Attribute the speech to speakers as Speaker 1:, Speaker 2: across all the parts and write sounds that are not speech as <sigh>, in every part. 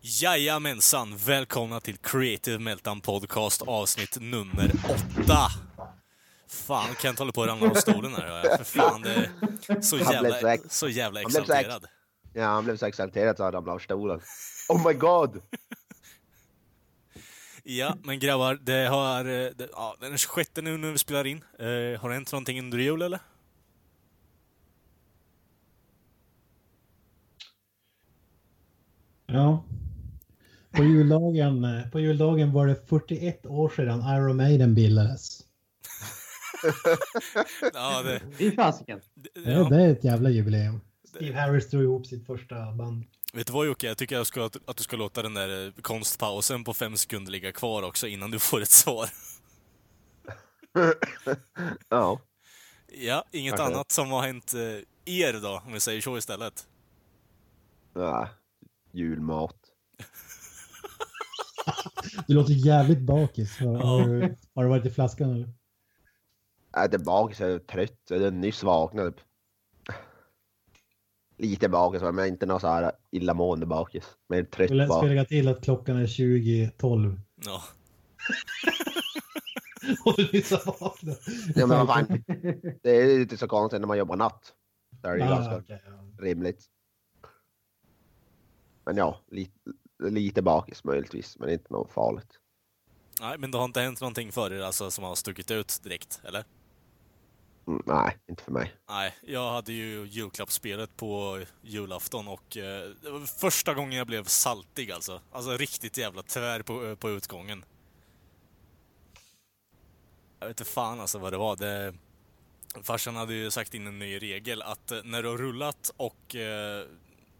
Speaker 1: Jajamensan! Välkomna till Creative Meltdown Podcast avsnitt nummer åtta! Fan, Kent håller på att ramla av stolen här. hör jag. För fan, det är så
Speaker 2: Han blev så
Speaker 1: jävla,
Speaker 2: ex-
Speaker 1: så jävla
Speaker 2: han blev så ex-
Speaker 1: exalterad.
Speaker 2: Ja, han blev så exalterad så han ramlade av stolen. Oh my god!
Speaker 1: Ja, men grabbar, det har... eh, Det, ja, den är 26 nu när vi spelar in. Eh, har det hänt någonting under jul, eller?
Speaker 3: Ja. På juldagen, eh, på juldagen var det 41 år sedan Iron Maiden bildades.
Speaker 1: Ja, det...
Speaker 4: Fy fasiken.
Speaker 1: det
Speaker 3: Det,
Speaker 1: ja.
Speaker 3: det är ett jävla jubileum. Steve Harris drog ihop sitt första band.
Speaker 1: Vet du vad Jocke, jag tycker jag ska, att, att du ska låta den där eh, konstpausen på fem sekunder ligga kvar också innan du får ett svar.
Speaker 2: Ja.
Speaker 1: Ja, inget
Speaker 2: Kanske.
Speaker 1: annat som har hänt eh, er då, om vi säger så istället.
Speaker 2: ja. Julmat.
Speaker 3: Du låter jävligt bakis. Har,
Speaker 1: Ja.
Speaker 3: har, du, har du varit i flaskan eller?
Speaker 2: Jag är tillbaka så jag är trött. Jag är nyss vaknad. Typ. Lite bakis men inte någon så här illamående bakis. Men trött
Speaker 3: Vill jag ska jag
Speaker 2: bakis.
Speaker 3: lägga till att klockan är
Speaker 1: <laughs>
Speaker 3: 20.12
Speaker 1: Ja.
Speaker 3: och du nyss har vaknat.
Speaker 2: Ja, men vad fan. Det är inte så konstigt när man jobbar natt. Då är det ju
Speaker 3: Ah,
Speaker 2: ganska
Speaker 3: okej, ja.
Speaker 2: rimligt. Men ja, lite, lite bakis möjligtvis. Men inte något farligt.
Speaker 1: Nej, men det har inte hänt någonting för er alltså som har stuckit ut direkt, eller?
Speaker 2: Mm, nej, inte för mig.
Speaker 1: Nej, jag hade ju julklappsspelet på julafton och eh, det var första gången jag blev saltig alltså. Alltså riktigt jävla tvär på, eh, på utgången. Jag vet inte fan alltså vad det var. Det... Farsan hade ju sagt in en ny regel att eh, när du har rullat och eh,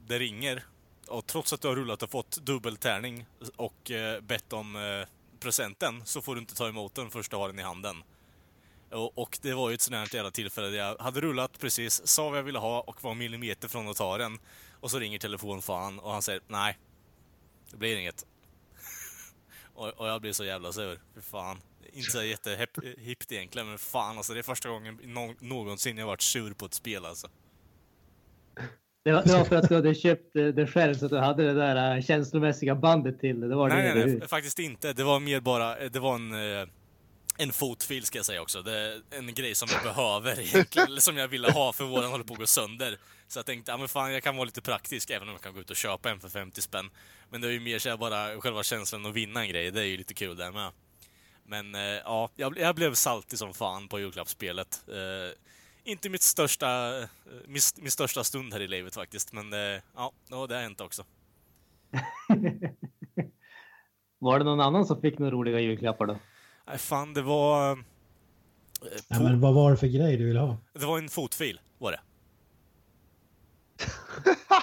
Speaker 1: det ringer och trots att du har rullat och fått dubbeltärning och eh, bett om eh, presenten så får du inte ta emot den först du har den i handen. Och, och det var ju ett sånt här jävla tillfälle där jag hade rullat precis, sa vad jag ville ha och var en millimeter från att ta den. Och så ringer telefonfan och han säger nej, det blir inget. <laughs> och, och jag blir så jävla sur. Fy fan. Inte så jättehippt egentligen, men fan alltså. Det är första gången nå- någonsin jag varit sur på ett spel alltså.
Speaker 4: Det var, det var för att du hade köpt eh, det själv så att du hade det där eh, känslomässiga bandet till det. det var det
Speaker 1: Nej,
Speaker 4: du-
Speaker 1: nej, nej, faktiskt inte. Det var mer bara, det var en, eh, en fotfil ska jag säga också. Det är en grej som jag behöver <laughs> egentligen, eller som jag ville ha för våran håller på att gå sönder. Så jag tänkte, ja men fan jag kan vara lite praktisk även om jag kan gå ut och köpa en för 50 spänn. Men det är ju mer så här bara själva känslan att vinna en grej, det är ju lite kul där med. Men eh, ja, jag, jag blev saltig som fan på julklappsspelet. Eh, inte mitt största, eh, min, min största stund här i livet faktiskt, men eh, ja, ja, det har hänt också.
Speaker 4: <laughs> Var det någon annan som fick några roliga julklappar då?
Speaker 1: Nej fan, det var... eh,
Speaker 3: Ja,
Speaker 1: på-
Speaker 3: men vad var det för grej du ville ha?
Speaker 1: Det var en fotfil, var det.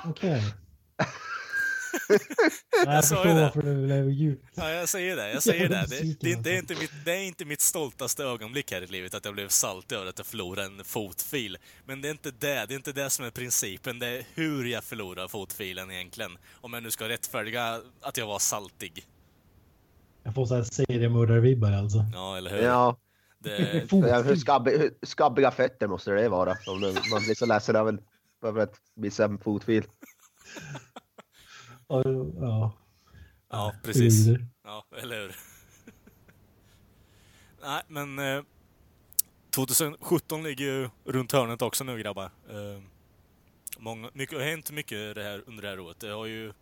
Speaker 3: Okej.
Speaker 1: <laughs>
Speaker 3: Nej,
Speaker 1: Jag
Speaker 3: Jag
Speaker 1: sa ju
Speaker 3: förstår
Speaker 1: det.
Speaker 3: varför du blev djupt
Speaker 1: Ja, jag säger det. Jag säger det.
Speaker 3: Jävla
Speaker 1: Det,
Speaker 3: besviken,
Speaker 1: det, det, är
Speaker 3: alltså.
Speaker 1: inte mitt, det är inte mitt stoltaste ögonblick här i livet, att jag blev saltig över att jag förlorade en fotfil. Men det är inte det. Det är inte det som är principen. Det är hur jag förlorar fotfilen egentligen. Om jag nu ska rättfärdiga att jag var saltig.
Speaker 3: Jag får såhär seriemördarvibbar alltså.
Speaker 1: Ja, eller hur?
Speaker 2: Ja.
Speaker 1: Det,
Speaker 2: Ja, hur, skabbig, hur skabbiga fötter måste det vara? Om det- man blir så ledsen av en, över att missa en fotfil.
Speaker 3: Ja, ja.
Speaker 1: ja, precis.
Speaker 3: Det ljuder.
Speaker 1: Ja, eller hur? <laughs> Nej, men eh, 2017 ligger ju runt hörnet också nu grabbar. Eh, många, mycket har hänt mycket det här, under det här året. Det har ju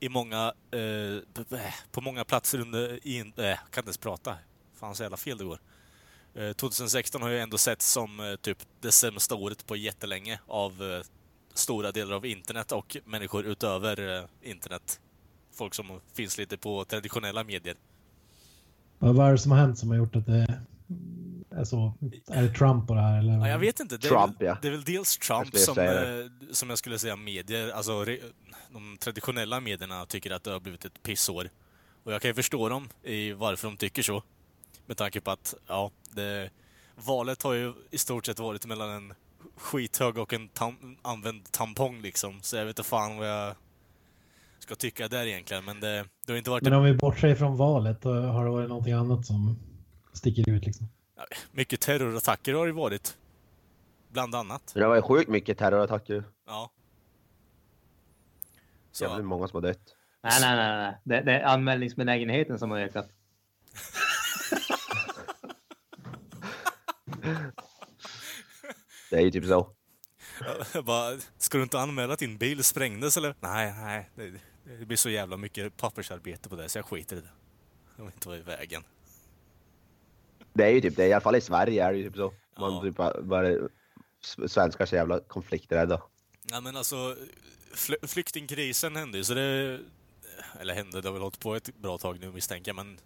Speaker 1: i många, eh, b- b- på många platser under... I, en- eh, kan inte ens prata. Fan så jävla fel det går. Eh, 2016 har ju ändå sett som eh, typ det sämsta året på jättelänge av eh, stora delar av internet och människor utöver eh, internet folk som finns lite på traditionella medier.
Speaker 3: Vad var det som har hänt som har gjort att det Alltså, är det Trump på det här? Eller?
Speaker 1: Ja, jag vet inte. Det är,
Speaker 2: Trump,
Speaker 1: väl,
Speaker 2: ja.
Speaker 1: det är väl dels
Speaker 2: Jag
Speaker 1: Trump
Speaker 2: skulle
Speaker 1: som,
Speaker 2: säga
Speaker 1: eh, som jag skulle säga medier, alltså re, de traditionella medierna tycker att det har blivit ett pissår. Och jag kan ju förstå dem i varför de tycker så. Med tanke på att, ja, det, valet har ju i stort sett varit mellan en skithög och en tam, använd tampong liksom. Så jag vet inte fan vad jag ska tycka där egentligen. Men det, det har inte varit
Speaker 3: Men om vi bortser från valet, då har det varit någonting annat som sticker ut liksom.
Speaker 1: mycket terrorattacker har det varit. Bland annat.
Speaker 2: Det var ju sjukt mycket terrorattacker.
Speaker 1: Ja. Så,
Speaker 2: Jävligt många som har dött.
Speaker 4: Nej, nej, nej. nej. Det, det är anmälningsbenägenheten som har ökat.
Speaker 2: Det är ju typ så.
Speaker 1: Jag <laughs> bara, ska du inte anmäla att din bil sprängdes eller? Nej, nej. Det, det blir så jävla mycket pappersarbete på det så jag skiter i det. Jag vill inte vara i vägen.
Speaker 2: Det är ju typ det, i alla fall i Sverige är det ju typ så. Man
Speaker 1: Ja.
Speaker 2: typ bara- bara... s- Svenskar är så jävla konflikträdda.
Speaker 1: Nej men alltså, fly- flyktingkrisen hände ju så det... Eller hände, det har väl hållit på ett bra tag nu misstänker jag men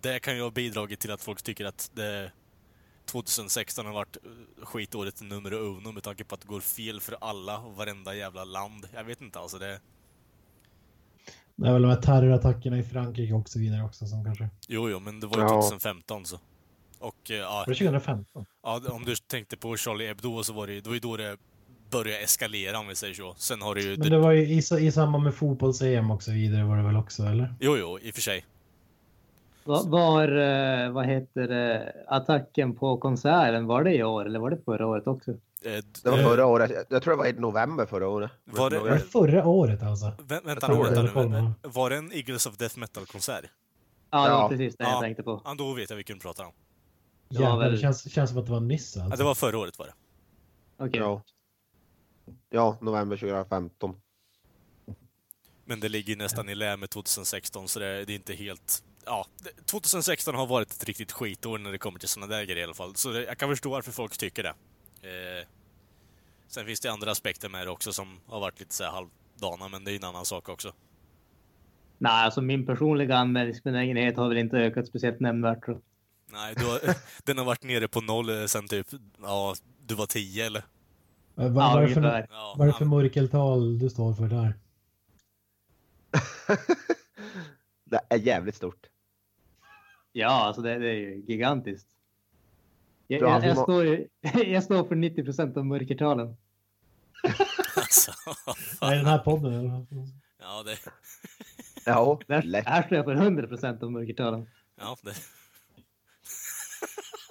Speaker 1: det kan ju ha bidragit till att folk tycker att det 2016 har varit eh, skitåret nummer uno med tanke på att det går fel för alla och varenda jävla land. Jag vet inte alltså det...
Speaker 3: Det är väl de här terrorattackerna i Frankrike och så vidare också som kanske...
Speaker 1: Jo, jo, men det var ju
Speaker 2: Ja.
Speaker 1: 2015 så. Och eh, ja,
Speaker 3: Var det 2015?
Speaker 1: Ja, om du tänkte på Charlie Hebdo så var det ju, det var ju då det började eskalera om vi säger så. Sen har det ju...
Speaker 3: Men det var ju i, i samband med fotbolls-EM och så vidare var det väl också, eller?
Speaker 1: Jo, jo, i och för sig. Eh,
Speaker 4: Var, var eh, vad heter det, attacken på konserten, var det i år eller var det förra året också?
Speaker 1: Eh,
Speaker 2: Det var
Speaker 1: eh,
Speaker 2: förra året, jag- jag tror det var i november förra året.
Speaker 1: Var det-
Speaker 3: Var det förra året alltså?
Speaker 1: eh, vä- vänta
Speaker 2: tror
Speaker 1: nu, vänta
Speaker 2: det.
Speaker 1: nu.
Speaker 3: Jag kollar.
Speaker 1: vänta. Var det en Eagles of Death Metal-konsert?
Speaker 4: Ja, det
Speaker 2: Ja.
Speaker 4: var precis det
Speaker 1: Ja.
Speaker 4: jag tänkte på.
Speaker 1: Ja, då vet jag vilken du pratar om.
Speaker 4: Det var
Speaker 3: Jävlar,
Speaker 4: väl-
Speaker 3: det känns, känns som att det var nyss
Speaker 1: Ja,
Speaker 3: alltså.
Speaker 1: det var förra året var det.
Speaker 4: Okej.
Speaker 2: Ja. ja, november 2015.
Speaker 1: Men det ligger ju nästan i lä med 2016 så det, det är inte helt... Ja, det- 2016 har varit ett riktigt skitår när det kommer till sådana där grejer i alla fall. Så det, jag kan förstå varför folk tycker det. Eh, sen finns det andra aspekter med det också som har varit lite så här halvdana, men det är ju en annan sak också.
Speaker 4: Nej, alltså min personliga anmälningsbenägenhet har väl inte ökat speciellt nämnvärt. tror jag.
Speaker 1: Nej, du har, <laughs> den har varit nere på noll eh, sen typ, ja, du var 10 eller?
Speaker 3: Vad
Speaker 4: Ja,
Speaker 3: var, det för,
Speaker 4: ungefär.
Speaker 1: Ja,
Speaker 3: vad är det för
Speaker 1: ja,
Speaker 3: mörkeltal du står för där?
Speaker 2: <laughs> Det är jävligt stort.
Speaker 4: Ja, alltså det, det är ju gigantiskt. Jag,
Speaker 2: Ja,
Speaker 4: jag,
Speaker 2: vi
Speaker 4: jag,
Speaker 2: må-
Speaker 4: står, ju- <laughs> jag står för 90 procent av mörkertalen.
Speaker 1: <laughs> alltså,
Speaker 3: Nej, den här podden eller?
Speaker 1: ja, det,
Speaker 2: Ja,
Speaker 4: Där,
Speaker 2: lätt.
Speaker 4: här står jag för 100 procent av mörkertalen.
Speaker 1: ja, det,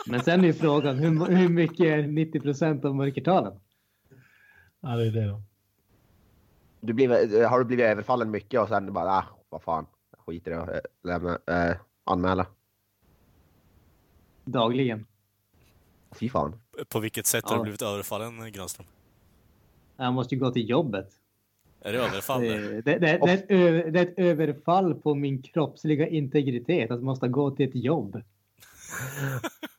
Speaker 4: Men sen är ju frågan, hur, hur mycket är 90 procent av mörkertalen?
Speaker 3: Ja, det är det då.
Speaker 2: Du blir, har du blivit överfallen mycket och sen bara, ah, vad fan, jag skiter i att eh, lämna, eh, anmäla.
Speaker 4: Dagligen.
Speaker 2: Fy fan.
Speaker 1: på vilket sätt har du
Speaker 4: Ja.
Speaker 1: blivit överfallen, eh, Granström?
Speaker 4: Jag måste ju gå till jobbet.
Speaker 1: Är det överfall? där?
Speaker 4: Det, det, det, det, är ett ö- det är ett överfall på min kroppsliga integritet att måste gå till ett jobb.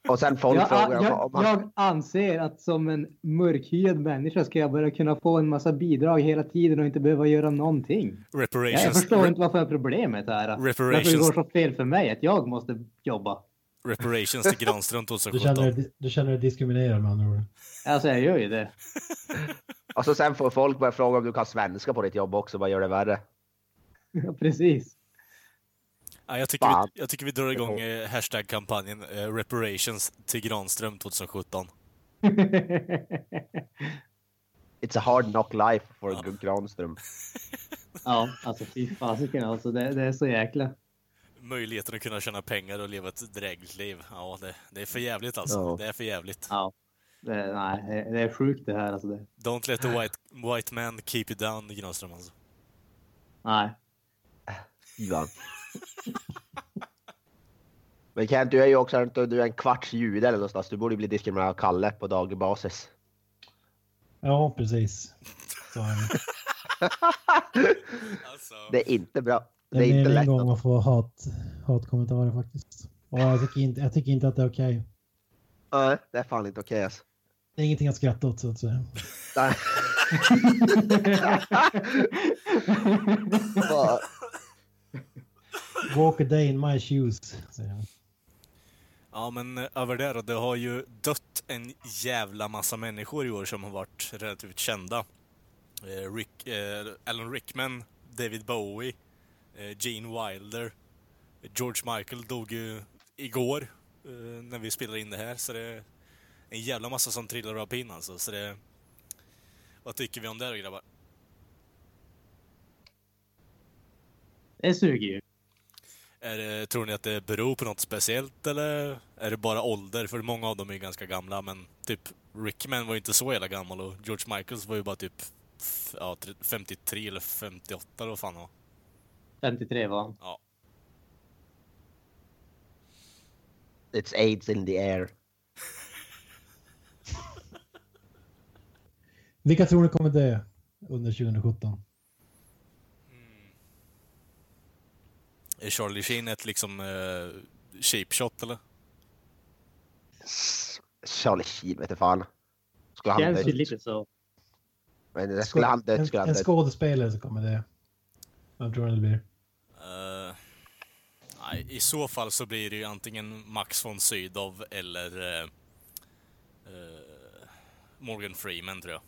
Speaker 2: Och sen folk
Speaker 4: Jag,
Speaker 2: frågar om-
Speaker 4: jag,
Speaker 2: om man...
Speaker 4: jag anser att som en mörkhyad människa ska jag börja kunna få en massa bidrag hela tiden och inte behöva göra någonting. Jag, jag
Speaker 1: Reparations,
Speaker 4: förstår inte varför problemet är. Varför det
Speaker 1: reparations,
Speaker 4: går så fel för mig att jag måste jobba.
Speaker 1: reparations till Granström
Speaker 3: Du känner,
Speaker 1: 2017.
Speaker 3: dig- du känner dig diskriminerad med andra ord.
Speaker 4: Alltså jag gör ju det. <laughs>
Speaker 2: Och så sen får folk börja fråga om du kan svenska på ditt jobb också, vad gör det värre?
Speaker 4: Precis. <laughs>
Speaker 1: Ja, jag, tycker vi,
Speaker 2: Fan.
Speaker 1: jag tycker vi drar igång eh, hashtag-kampanjen eh, Reparations till Granström 2017.
Speaker 2: It's a hard knock life for Granström.
Speaker 4: ja, alltså fy fasiken alltså. Det, det är så jäkla.
Speaker 1: Möjligheten att kunna tjäna pengar och leva ett drägligt liv. Ja, det, det är för jävligt alltså.
Speaker 2: Ja.
Speaker 1: Det är för jävligt.
Speaker 4: Ja. Det, nej, det- det är sjukt det här alltså. Det,
Speaker 1: Don't let the white, white man keep you down, Granström alltså.
Speaker 4: nej.
Speaker 2: Fy fan. Men Kent, du är ju också inte, du är en kvarts jude eller någonstans. Du borde ju bli diskriminerad av Kalle på daglig basis.
Speaker 3: Ja, precis.
Speaker 2: <laughs>
Speaker 3: Så eh, är det.
Speaker 1: alltså.
Speaker 2: Det är inte bra. Det
Speaker 3: Det
Speaker 2: är
Speaker 3: är
Speaker 2: inte
Speaker 3: mer än en
Speaker 2: lätt.
Speaker 3: gång
Speaker 2: att-
Speaker 3: att få hat, hatkommentarer faktiskt. Och jag tycker inte, jag tycker inte att det är okej.
Speaker 2: Nej, det är fan inte okej alltså.
Speaker 3: Det är ingenting att skratta åt så att säga.
Speaker 2: <laughs> Nej. Fan.
Speaker 3: Walk a day in my shoes, säger jag.
Speaker 1: Ja, men eh, över det då. Det har ju dött en jävla massa människor i år som har varit relativt kända. Eh, Rick, eh, Alan Rickman, David Bowie, eh, Gene Wilder. George Michael dog ju igår eh, när vi spelade in det här, så det är en jävla massa som trillar av pinn alltså. Så det... Vad tycker vi om det då, grabbar?
Speaker 4: Det suger ju.
Speaker 1: Är det, tror ni att det beror på något speciellt eller är det bara ålder? För många av dem är ju ganska gamla, men typ Rickman var ju inte så jävla gammal och George Michaels var ju bara typ f- ja, tre- 53 eller 58 eller vad fan det var.
Speaker 4: 53 var han.
Speaker 1: Ja.
Speaker 2: It's aids in the air.
Speaker 3: Vilka tror ni kommer dö under 2017?
Speaker 1: Är Charlie Sheen ett liksom eh, cheap shot eller?
Speaker 2: Charlie Sheen vete fan. Skulle han
Speaker 4: Känns ju
Speaker 2: dött?
Speaker 4: lite så.
Speaker 2: Men det skulle han dött skulle
Speaker 3: en,
Speaker 2: han
Speaker 3: en
Speaker 2: dött.
Speaker 3: skådespelare som kommer dö. Vem tror ni det blir?
Speaker 1: Eh, nej, I så fall så blir det ju antingen Max von Sydow eller eh, eh, Morgan Freeman tror jag.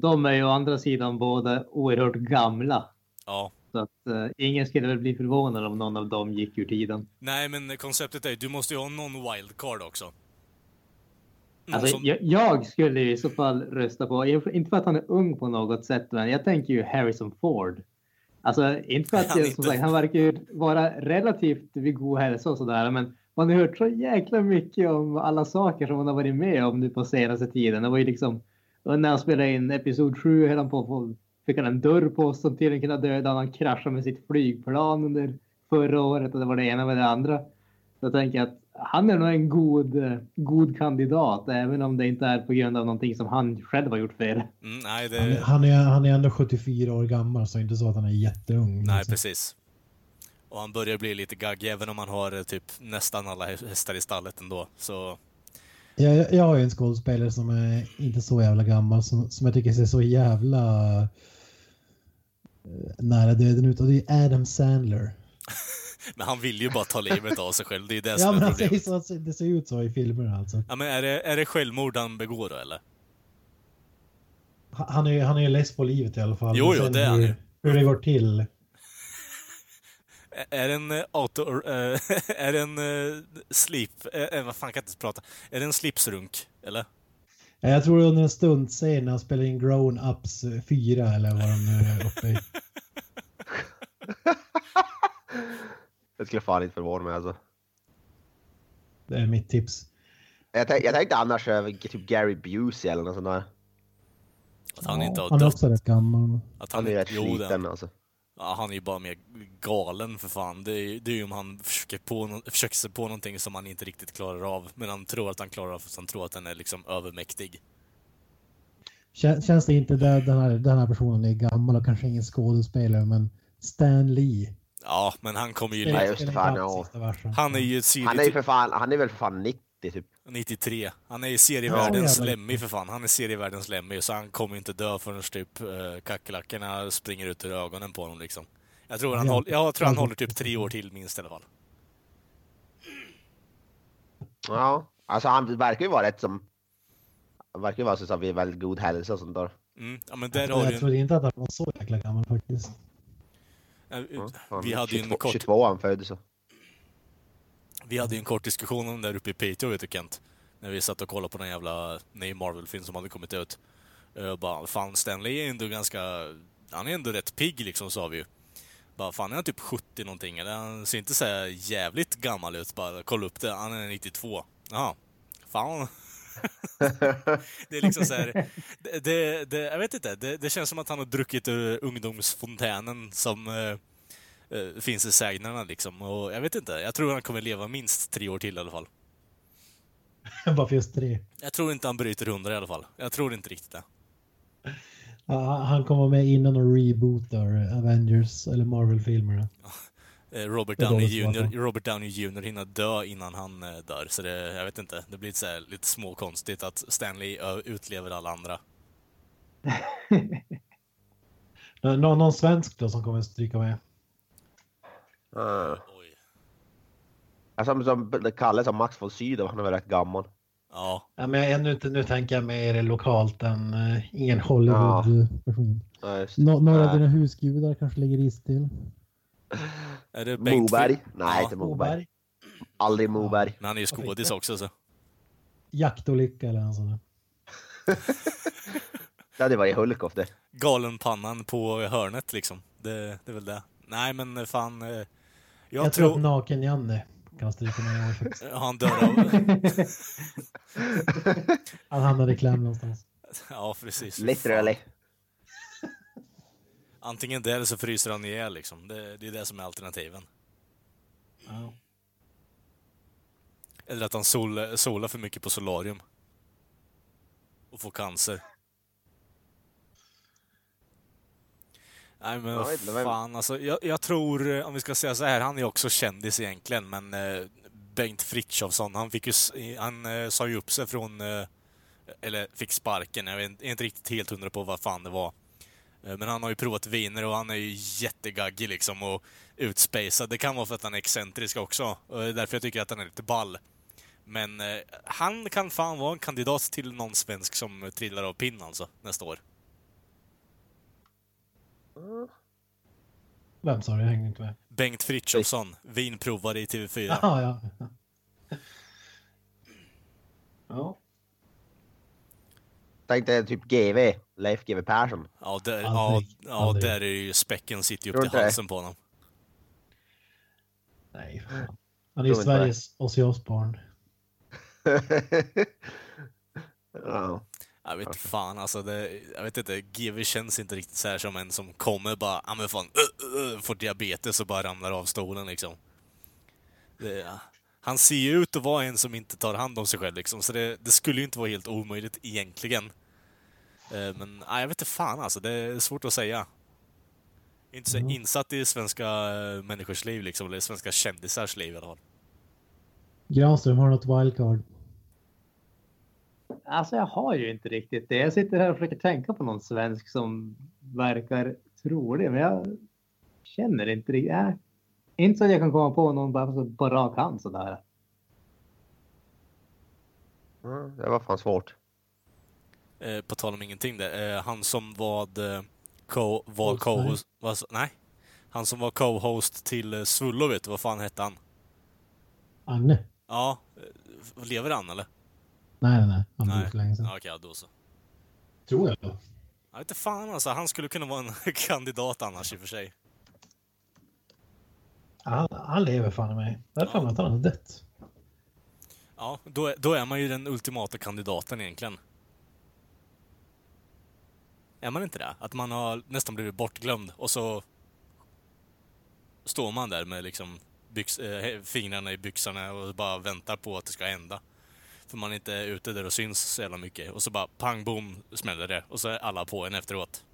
Speaker 4: De är ju å andra sidan båda oerhört gamla.
Speaker 1: Ja.
Speaker 4: Så att eh, ingen skulle väl bli förvånad om någon av dem gick ur tiden.
Speaker 1: Nej, men konceptet är ju, du måste ju ha någon wildcard också. Någon
Speaker 4: Alltså,
Speaker 1: som,
Speaker 4: jag, jag skulle i så fall rösta på, inte för att han är ung på något sätt, men jag tänker ju Harrison Ford. Alltså inte för
Speaker 1: <laughs>
Speaker 4: att
Speaker 1: Han är
Speaker 4: jag, som
Speaker 1: inte-
Speaker 4: sagt, han verkar ju vara relativt vid god hälsa och sådär, men man har hört så jäkla mycket om alla saker som han har varit med om nu på senaste tiden. Det var ju liksom och när han spelade in Episod 7 höll han på, på fick han en dörr på sig som tydligen kunde döda honom. Han kraschade med sitt flygplan under förra året och det var det ena med det andra. Så jag tänker att han är nog en god, eh, god kandidat, även om det inte är på grund av någonting som han själv har gjort fel.
Speaker 1: mm, nej,
Speaker 3: Han,
Speaker 1: det,
Speaker 3: han, är, han är ändå 74 år gammal, så det är inte så att han är jätteung.
Speaker 1: nej,
Speaker 3: liksom.
Speaker 1: precis. Och han börjar bli lite gaggig, även om han har eh, typ nästan alla hä- hästar i stallet ändå. Så,
Speaker 3: Jag, jag har ju en skådespelare som är inte så jävla gammal som, som jag tycker ser så jävla eh, nära döden ut och det är Adam Sandler.
Speaker 1: men han vill ju bara ta livet av sig själv, det är ju det
Speaker 3: Ja
Speaker 1: som
Speaker 3: men
Speaker 1: är
Speaker 3: han säger
Speaker 1: problemet.
Speaker 3: så, att det ser ut så i filmerna alltså.
Speaker 1: Ja, men är det, är det självmord han begår då, eller?
Speaker 3: Han han är ju han är ju less på livet i alla fall.
Speaker 1: Jo,
Speaker 3: Men
Speaker 1: jo,
Speaker 3: sen
Speaker 1: det är han ju.
Speaker 3: hur, hur det går till. Eh,
Speaker 1: Ä- Är det en eh, auto... eh, <laughs> är det en eh, slip... eh, eh, vad fan kan jag inte prata? Är det en slipsrunk, eller?
Speaker 3: Ja, Jag tror under en stund sen när han spelar in Grown Ups 4 eller vad de nu är uppe i.
Speaker 2: Det skulle fan inte förvåna mig alltså.
Speaker 3: Det är mitt tips.
Speaker 2: Jag, tänk, jag tänkte annars över typ Gary Busey eller något sånt där.
Speaker 1: Att han inte har
Speaker 3: han är
Speaker 1: dött?
Speaker 3: också rätt gammal.
Speaker 1: Att
Speaker 2: Han är
Speaker 1: inte-
Speaker 2: rätt
Speaker 1: Jo, det är han.
Speaker 2: sliten alltså.
Speaker 1: Ja, han är ju bara mer galen för fan. Det är, ju- det är ju om han försöker, på, nå- försöker sig på någonting som han inte riktigt klarar av. Men han tror att han klarar av för att han tror att han är liksom övermäktig.
Speaker 3: Kän- Känns det inte där den här, den här personen är gammal och kanske ingen skådespelare men Stan Lee.
Speaker 1: Ja, men han kommer ju...
Speaker 2: Nej,
Speaker 1: li-
Speaker 2: just det,
Speaker 3: Spelar
Speaker 2: fan,
Speaker 3: inte
Speaker 2: ja.
Speaker 3: alls sista versen.
Speaker 1: Han är ju typ- syrlig...
Speaker 2: Han är ju för fan, han är väl för fan 90 typ.
Speaker 1: 93. Han är ju serievärldens
Speaker 3: Ja, jävlar.
Speaker 1: Lemmy för fan. Han är serievärldens Lemmy, så han kommer ju inte dö förrän typ eh, kackerlackorna springer ut ur ögonen på honom liksom. Jag tror han,
Speaker 3: Ja.
Speaker 1: håll, jag tror han håller typ tre år till minst i alla fall.
Speaker 2: Ja. Alltså han verkar ju vara rätt som... Han verkar ju vara så som vi väldigt god hälsa och sånt där.
Speaker 1: Mm. Ja, men där
Speaker 3: Jag,
Speaker 1: har
Speaker 3: tror-
Speaker 1: du
Speaker 3: jag
Speaker 1: ju...
Speaker 3: trodde inte att han var så jäkla gammal faktiskt. <laughs>
Speaker 1: en-
Speaker 2: Ja,
Speaker 1: eh,
Speaker 2: fan.
Speaker 1: Vi hade ju en
Speaker 2: 22,
Speaker 1: kort
Speaker 2: 22 han föddes så.
Speaker 1: Vi hade ju en kort diskussion om det där uppe i Piteå, vet du Kent. När vi satt och kollade på den jävla ny Marvel-film som hade kommit ut. Jag bara, fan Stanley är ändå ganska... Han är ändå rätt pigg liksom, sa vi ju. Bara, fan är han typ 70 någonting? Eller han ser inte så här jävligt gammal ut. Bara, kolla upp det. Han är 92. Jaha. Fan. <laughs> det är liksom så här... Det, det, det, jag vet inte. Det, det känns som att han har druckit ur ungdomsfontänen som... Eh, eh, finns i sägnerna liksom. Och jag vet inte, jag tror han kommer leva minst tre år till i alla fall.
Speaker 3: Bara för just tre.
Speaker 1: Jag tror inte han bryter hundra i alla fall. Jag tror inte riktigt det.
Speaker 3: Ja, han- han kommer med innan och rebootar Avengers eller Marvel-filmerna.
Speaker 1: Eh, Robert
Speaker 3: Det är
Speaker 1: Downey,
Speaker 3: dåligt för
Speaker 1: Jr,
Speaker 3: honom.
Speaker 1: Robert Downey Jr hinner dö innan han eh, dör, så det, jag vet inte. Det blir så här, lite småkonstigt att Stanley eh, utlever alla andra.
Speaker 3: Nå- Någon, någon svensk då som kommer stryka med?
Speaker 2: Ah.
Speaker 1: Oj.
Speaker 2: Alltså, som, som Kalle som Max von Sydow, han är väl rätt gammal.
Speaker 1: Ja.
Speaker 3: Ja, men jag ännu inte, nu tänker jag mer lokalt än eh, ingen Hollywood-person.
Speaker 2: Ja, just.
Speaker 3: Nå- några av
Speaker 2: Nej.
Speaker 3: dina husgudar kanske ligger is till.
Speaker 1: Är det Bengt?
Speaker 2: Moberg? Nej,
Speaker 1: Ja.
Speaker 2: inte Moberg. Aldrig Moberg.
Speaker 1: Men han är ju skådis också så.
Speaker 3: Jaktolycka eller en sån där.
Speaker 2: Det hade varit Hulkoff det.
Speaker 1: Galenpannan på hörnet liksom. Det, det är väl det. Nej men fan. eh, Jag,
Speaker 3: Jag, tror
Speaker 1: tror...
Speaker 3: att Naken-Janne kan stryka mig i år.
Speaker 1: Han dör av...
Speaker 3: Han hamnade i kläm någonstans.
Speaker 1: Ja precis.
Speaker 2: Literally.
Speaker 1: Antingen det eller så fryser han ihjäl liksom. Det, det är det som är alternativen.
Speaker 3: Ja.
Speaker 1: Eller att han sol, solar för mycket på solarium. Och får cancer. Nej men
Speaker 2: Jag vet inte, vem-
Speaker 1: fan alltså. Jag, jag tror, eh, om vi ska säga så här, han är också kändis egentligen men eh, Bengt Frithiofsson, han fick ju, s- eh, han eh, sa ju upp sig från, eh, eller fick sparken, jag vet inte- är inte riktigt helt hundra på vad fan det var. Eh, Men han har ju provat viner och han är ju jättegaggig liksom och utspejsad. Det kan vara för att han är excentrisk också. Och det är därför jag tycker att han är lite ball. Men eh, han kan fan vara en kandidat till någon svensk som trillar av pinn alltså, nästa år.
Speaker 3: Vem sa du? Jag hängde inte med.
Speaker 1: Bengt Frithiofsson, vinprovare i TV4.
Speaker 3: Jaha, ja. Ja.
Speaker 2: Tänk dig typ GV, Leif GW Persson. <laughs>
Speaker 1: Ja, där, ja,
Speaker 3: Aldrig,
Speaker 1: ja,
Speaker 3: aldrig.
Speaker 1: där är ju späcken sitter ju
Speaker 2: Tror
Speaker 1: upp
Speaker 2: inte
Speaker 1: till
Speaker 2: det.
Speaker 1: halsen på honom.
Speaker 3: Nej, fan. Han är ju
Speaker 2: Tror inte det.
Speaker 3: Sveriges Ozzy Osbourne.
Speaker 2: ja.
Speaker 1: Jag vet fan alltså, det, jag vet inte, GV känns inte riktigt så här som en som kommer bara, ja men fan, ö, ö, ö", får diabetes och bara ramlar av stolen liksom. Det, han ser ju ut att vara en som inte tar hand om sig själv liksom, så det, det skulle ju inte vara helt omöjligt egentligen. Eh, Men nej, jag vet inte fan alltså, det är svårt att säga. Inte så
Speaker 3: Ja.
Speaker 1: insatt i svenska eh, människors liv liksom, eller svenska kändisars liv i alla fall.
Speaker 3: Granström, har du något wildcard?
Speaker 4: Alltså jag har ju inte riktigt det. Jag sitter här och försöker tänka på någon svensk som verkar trolig, men jag känner inte riktigt. Äh. Inte så att jag kan komma på någon bara på- på rak hand sådär.
Speaker 2: Ja, Det var fan svårt.
Speaker 1: Eh, på tal om ingenting där. Eh, han som vad, eh, co- var
Speaker 3: Åsberg.
Speaker 1: co-host... vad sa- nej. Han som var co-host till eh, Svullo, vet du vad fan hette han?
Speaker 3: Agne?
Speaker 1: Ja, eh, lever han eller?
Speaker 3: Nej, nej, nej. Han
Speaker 1: Nej.
Speaker 3: dog för länge sedan.
Speaker 1: Ja, Okej, ja, då så.
Speaker 3: Tror jag. då.
Speaker 1: Jag vet inte fan alltså, han skulle kunna vara en <laughs> kandidat annars i och för sig.
Speaker 3: Han, han lever fan i mig. Jag har för mig att han har dött.
Speaker 1: Ja, då är, då är man ju den ultimata kandidaten egentligen. Är man inte det? Att man har nästan blivit bortglömd och så står man där med liksom byx, eh, fingrarna i byxorna och bara väntar på att det ska hända. För man är inte ute där och syns så jävla mycket. Och så bara pang bom smäller det och så är alla på en efteråt.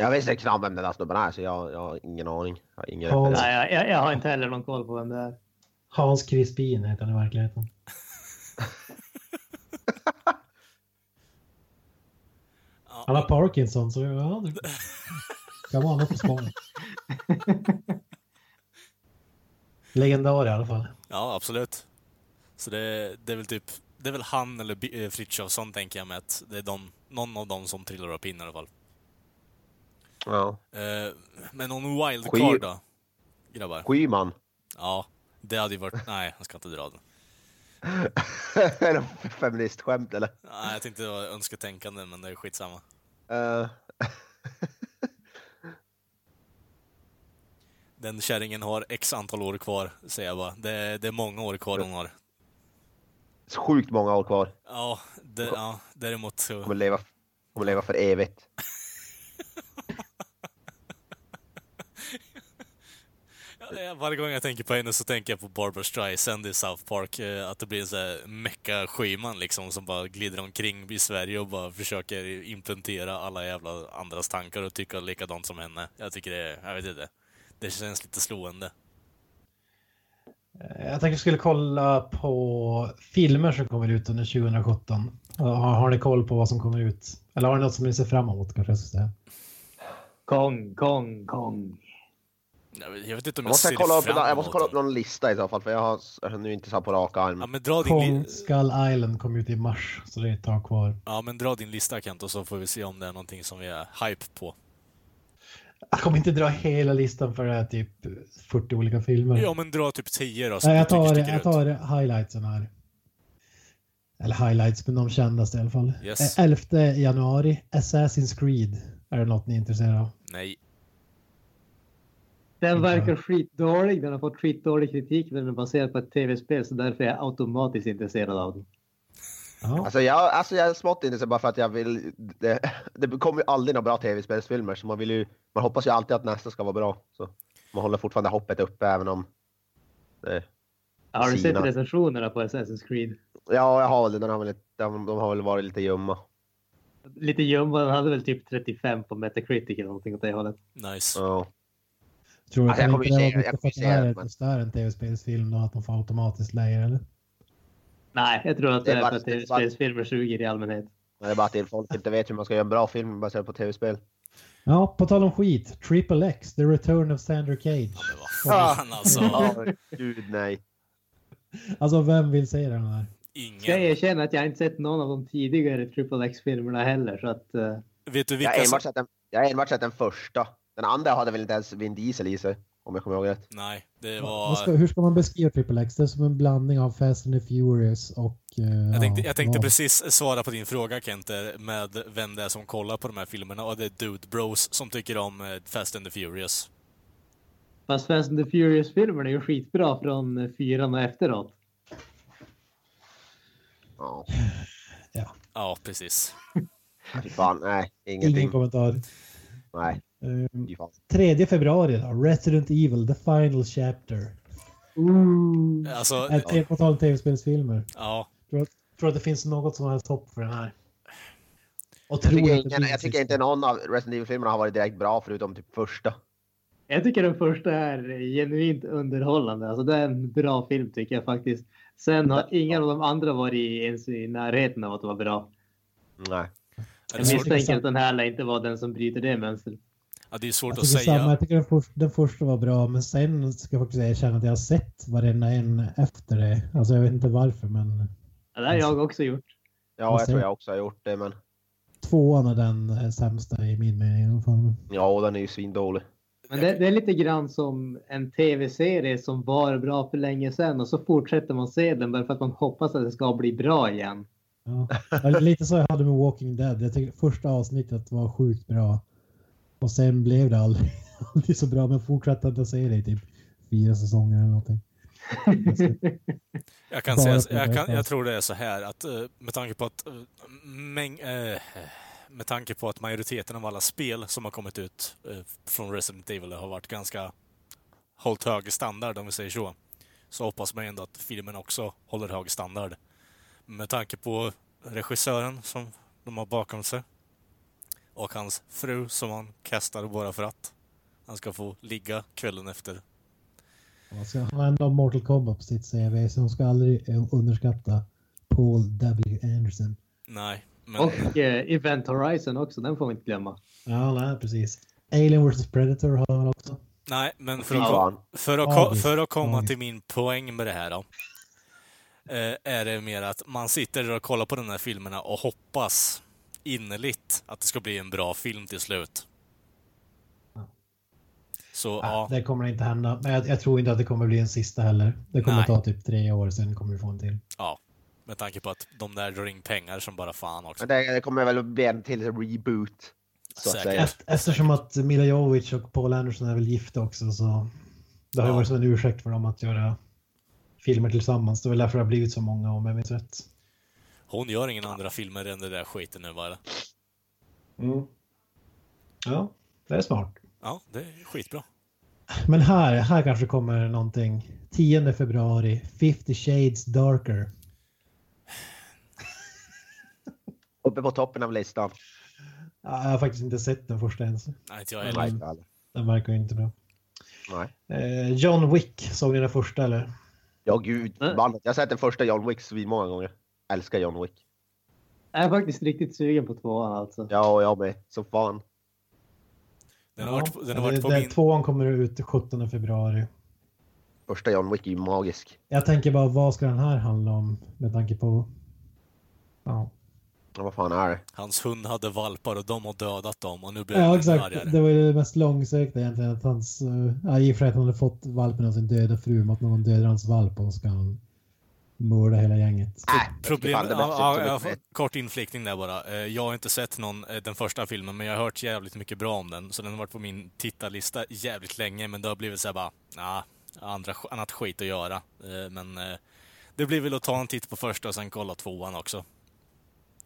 Speaker 2: Jag visste knappt vem den där snubben är så jag, jag har ingen aning. Jag har ingen
Speaker 3: Ja,
Speaker 2: referens.
Speaker 4: Nej, jag, jag, jag har inte heller någon koll på vem det är.
Speaker 3: Hans Crispin heter han i verkligheten. Han har Parkinson, så ja, <laughs> det kan vara något på <laughs> spången. Legendar i alla fall.
Speaker 1: Ja, absolut. Så det, det är väl typ det är väl han eller Bi- eh, Frithiofsson tänker jag med att det är de, någon av dem som trillar av pinnar i alla fall.
Speaker 2: Ja.
Speaker 1: Eh, men någon wildcard
Speaker 2: Skit.
Speaker 1: då? Grabbar?
Speaker 2: Skyman. <laughs>
Speaker 1: Ja, det hade ju varit... Nej, jag ska inte dra den.
Speaker 2: är det f- feministskämt eller?
Speaker 1: Nej, jag tänkte det var önsketänkande, men det är skitsamma.
Speaker 2: Eh,
Speaker 1: Den kärringen har x antal år kvar, säger jag bara. Det, det är många år kvar hon har.
Speaker 2: sjukt många år kvar.
Speaker 1: Ja, det, ja däremot
Speaker 2: Kommer
Speaker 1: så...
Speaker 2: leva, kommer leva för evigt.
Speaker 1: Ja, varje gång jag tänker på henne så tänker jag på Barbra Streisand i South Park. eh, Att det blir en sån här mecka-skyman liksom, som bara glider omkring i Sverige och bara försöker implementera alla jävla andras tankar och tycka likadant som henne. Jag tycker det är... Jag vet inte. Det känns lite slående.
Speaker 3: Eh, Jag tänkte vi skulle kolla på filmer som kommer ut under 2017. Eh, Har, har ni koll på vad som kommer ut? Eller har ni något som ni ser fram emot kanske jag ska säga?
Speaker 4: Kong, Kong, Kong.
Speaker 1: Jag vet- jag vet inte om
Speaker 2: Jag
Speaker 1: jag,
Speaker 2: måste,
Speaker 1: ser
Speaker 2: kolla upp,
Speaker 1: fram
Speaker 2: jag måste kolla upp
Speaker 1: emot
Speaker 2: någon lista i så fall, för jag har jag nu inte så här på rak
Speaker 1: den. Ja
Speaker 2: arm.
Speaker 1: men, dra din
Speaker 3: Kong
Speaker 1: li-
Speaker 3: Skull Island kom ut i mars, så det är ett tag kvar.
Speaker 1: ja, men dra din lista Kent, och så får vi se om det är någonting som vi är hype på.
Speaker 3: Jag kommer inte dra hela listan för det är typ 40 olika filmer.
Speaker 1: Ja, men dra typ 10 då, som
Speaker 3: Nej,
Speaker 1: du
Speaker 3: jag
Speaker 1: tycker
Speaker 3: tar,
Speaker 1: sticker
Speaker 3: jag
Speaker 1: ut.
Speaker 3: tar highlightsen här. Eller highlights, men de kändaste i alla fall.
Speaker 1: Yes.
Speaker 3: Eh, 11 januari, Assassin's Creed. Är det något ni är intresserade av?
Speaker 1: Nej.
Speaker 4: Den verkar skitdålig. Den har fått skitdålig kritik. Den är baserad på ett tv-spel så därför är jag automatiskt intresserad av den.
Speaker 3: Ja.
Speaker 2: Alltså jag, alltså jag är smått intresserad bara för att jag vill... Det, <laughs> det kommer ju aldrig några bra tv-spelsfilmer, så man vill ju... Man hoppas ju alltid att nästa ska vara bra. Så man håller fortfarande hoppet uppe även om... Det,
Speaker 4: Har du
Speaker 2: Sina.
Speaker 4: sett recensionerna på Assassin's Creed?
Speaker 2: ja, jag har väl den har väl, de, de har väl varit lite ljumma.
Speaker 4: Lite ljumma. Den hade väl typ 35 på Metacritic eller någonting åt det hållet.
Speaker 1: Nice.
Speaker 2: Ja.
Speaker 3: Tror du
Speaker 2: Alltså, jag
Speaker 3: kan
Speaker 2: kommer
Speaker 3: inte det
Speaker 2: ju se-
Speaker 3: vara
Speaker 2: jag
Speaker 3: mycket för att
Speaker 2: kommer
Speaker 3: det
Speaker 2: ju se
Speaker 3: här
Speaker 2: det,
Speaker 3: är-
Speaker 2: men-
Speaker 3: just det här är en tv-spelsfilm då, att de får automatiskt lägre eller?
Speaker 4: Nej, jag tror att
Speaker 2: Det
Speaker 4: det
Speaker 2: är
Speaker 4: är
Speaker 2: bara-
Speaker 4: för att
Speaker 2: det är bara-
Speaker 4: tv-spelsfilmer suger i allmänhet.
Speaker 2: Men det är bara att det- folk inte vet hur man ska göra en bra film baserad på tv-spel.
Speaker 3: Ja, på tal om skit. Triple X, The Return of Sandra Cage.
Speaker 1: Men vad fan alltså.
Speaker 2: Ja, gud nej.
Speaker 3: Alltså, vem vill se den här?
Speaker 4: Ska jag
Speaker 1: Ingen.
Speaker 4: erkänna att jag inte sett någon av de tidigare Triple X-filmerna heller. Så att, eh,
Speaker 1: Vet du
Speaker 2: Jag har
Speaker 1: vilka som...
Speaker 2: enbart sett den, jag har enbart sett den första. Den andra hade väl inte ens Vin Diesel i sig, om jag kommer ihåg rätt.
Speaker 1: Nej, det
Speaker 3: Vad Ska,
Speaker 1: var...
Speaker 3: hur ska man beskriva Triple X? Det är som en blandning av Fast and the Furious och... eh,
Speaker 1: Jag tänkte,
Speaker 3: ja,
Speaker 1: jag tänkte
Speaker 3: vad-
Speaker 1: precis svara på din fråga Kenter, med vem det är som kollar på de här filmerna. Och det är Dude Bros som tycker om eh, Fast and the Furious.
Speaker 4: fast Fast and the Furious-filmerna är ju skitbra från eh, fyran och efteråt.
Speaker 2: Ja,
Speaker 1: Ja, precis.
Speaker 2: fy fan, nej.
Speaker 3: Ingen
Speaker 2: Ingenting.
Speaker 3: kommentar.
Speaker 2: Nej,
Speaker 3: Eh,
Speaker 2: fy fan.
Speaker 3: 3 februari då, Resident Evil, The Final Chapter.
Speaker 4: Ooh.
Speaker 1: Alltså,
Speaker 3: Äh, te- På tal om tv-spelsfilmer.
Speaker 1: ja.
Speaker 3: Tror att, tror att det finns något som helst hopp för den här? Och
Speaker 2: Jag
Speaker 3: tror
Speaker 2: tycker,
Speaker 3: att det
Speaker 2: ingen,
Speaker 3: finns
Speaker 2: jag tycker
Speaker 3: just-
Speaker 2: inte någon av Resident Evil-filmerna har varit direkt bra förutom typ första.
Speaker 4: Jag tycker den första är eh, genuint underhållande. Alltså det är en bra film tycker jag faktiskt. Sen har ingen av de andra varit ens i närheten av att vara bra.
Speaker 2: Nej.
Speaker 1: Är det,
Speaker 4: Jag
Speaker 3: svårt?
Speaker 4: misstänker att den här lär inte vara den som bryter det mönstret.
Speaker 1: ja, det är svårt
Speaker 3: Jag
Speaker 1: att
Speaker 3: tycker, samma,
Speaker 1: säga.
Speaker 3: jag tycker den, först, den första var bra, men sen ska jag faktiskt erkänna att jag har sett varenda en efter det. Alltså jag vet inte varför, men
Speaker 4: Ja, det har jag också gjort.
Speaker 2: Ja, jag tror jag också har gjort det, men
Speaker 3: tvåan är den eh, sämsta i min mening i alla fall.
Speaker 2: ja, den är ju svindålig.
Speaker 4: Men det, det är lite grann som en tv-serie som var bra för länge sedan och så fortsätter man se den bara för att man hoppas att det ska bli bra igen.
Speaker 3: Ja. Ja, Lite så jag hade med Walking Dead. Jag tyckte första avsnittet var sjukt bra. Och sen blev det aldrig, <laughs> aldrig så bra, men fortsatte att se det i typ fyra säsonger eller någonting.
Speaker 1: Jag, kan
Speaker 3: bara på
Speaker 1: säga, jag, kan,
Speaker 3: detta.
Speaker 1: jag tror det är så här att eh, med tanke på att eh, mäng, eh, med tanke på att majoriteten av alla spel som har kommit ut eh, från Resident Evil har varit ganska hållit hög standard om vi säger så. Så hoppas man ändå att filmen också håller hög standard. Med tanke på regissören som de har bakom sig och hans fru som han kastar bara för att han ska få ligga kvällen efter.
Speaker 3: Alltså, han har ändå Mortal Kombat på sitt CV, så hon ska aldrig eh, underskatta Paul W. Anderson.
Speaker 1: Nej, men...
Speaker 4: Och eh, Event Horizon också, den får vi inte glömma.
Speaker 3: Ja, nej, precis. Alien vs Predator har han väl också.
Speaker 1: Nej, men för
Speaker 2: Fy
Speaker 1: att,
Speaker 2: fan.
Speaker 1: För att, ko-
Speaker 3: Avis.
Speaker 1: för att komma
Speaker 3: Avis.
Speaker 1: till min poäng med det här då. eh, Är det mer att man sitter och kollar på de här filmerna och hoppas innerligt att det ska bli en bra film till slut. Så ja,
Speaker 3: Ah, Det kommer inte hända, men jag, jag tror inte att det kommer bli en sista heller. Det kommer
Speaker 1: Nej.
Speaker 3: ta typ tre år, sen kommer vi få en till.
Speaker 1: ja. Med tanke på att de där drar in pengar som bara fan också.
Speaker 2: Men det, det kommer väl bli en till reboot. Så att
Speaker 1: Säkert.
Speaker 2: säga.
Speaker 3: Eft- Eftersom att Mila Jovovich och Paul Anderson är väl gifta också så det har ju
Speaker 1: Ja.
Speaker 3: varit som en ursäkt för dem att göra filmer tillsammans. Det är väl därför det har blivit så många om jag minns rätt.
Speaker 1: Hon gör ingen andra filmer än det där skiten nu bara. Mm.
Speaker 3: Ja, det är smart.
Speaker 1: Ja, det är skitbra.
Speaker 3: Men här, här kanske kommer någonting. 10 februari, 50 shades darker.
Speaker 2: Uppe på toppen av listan.
Speaker 3: Ja, Jag har faktiskt inte sett den första ens.
Speaker 1: Nej, inte jag
Speaker 3: Mm.
Speaker 1: heller.
Speaker 2: Nej, inte alls.
Speaker 3: Den verkar ju inte bra.
Speaker 2: Nej.
Speaker 3: Eh, John Wick, såg ni den första eller?
Speaker 2: Ja, gud.
Speaker 4: Nej.
Speaker 2: Man, jag har sett den första John Wick svinmånga gånger. Älskar John Wick.
Speaker 4: Jag är faktiskt riktigt sugen på tvåan alltså.
Speaker 2: Ja, och jag med. Som fan.
Speaker 1: Den har varit, den har varit
Speaker 3: det-
Speaker 1: på
Speaker 3: det-
Speaker 1: min...
Speaker 3: Eh, Tvåan kommer ut 17 februari.
Speaker 2: Första John Wick är ju magisk.
Speaker 3: Jag tänker bara, vad ska den här handla om? Med tanke på... Ja,
Speaker 2: Ja, vad fan är det?
Speaker 1: Hans hund hade valpar och de har dödat dem och nu blir han
Speaker 3: ja
Speaker 1: ännu
Speaker 3: exakt.
Speaker 1: argare.
Speaker 3: Det var ju det mest långsökta egentligen. Att hans, eh, ja, I och för sig att han hade fått valpen av sin döda fru, men att någon dödar hans valp och ska han mörda hela gänget.
Speaker 2: Äh,
Speaker 1: Problem,
Speaker 2: fan, det
Speaker 1: ja, ja,
Speaker 2: bästa
Speaker 1: jag
Speaker 2: som
Speaker 1: får,
Speaker 2: ett-
Speaker 1: kort inflikning där bara. Eh, Jag har inte sett någon, eh, den första filmen, men jag har hört jävligt mycket bra om den. Så den har varit på min tittarlista jävligt länge, men det har blivit såhär bara, nah, andra, annat skit att göra. Eh, Men eh, det blir väl att ta en titt på första och sen kolla tvåan också.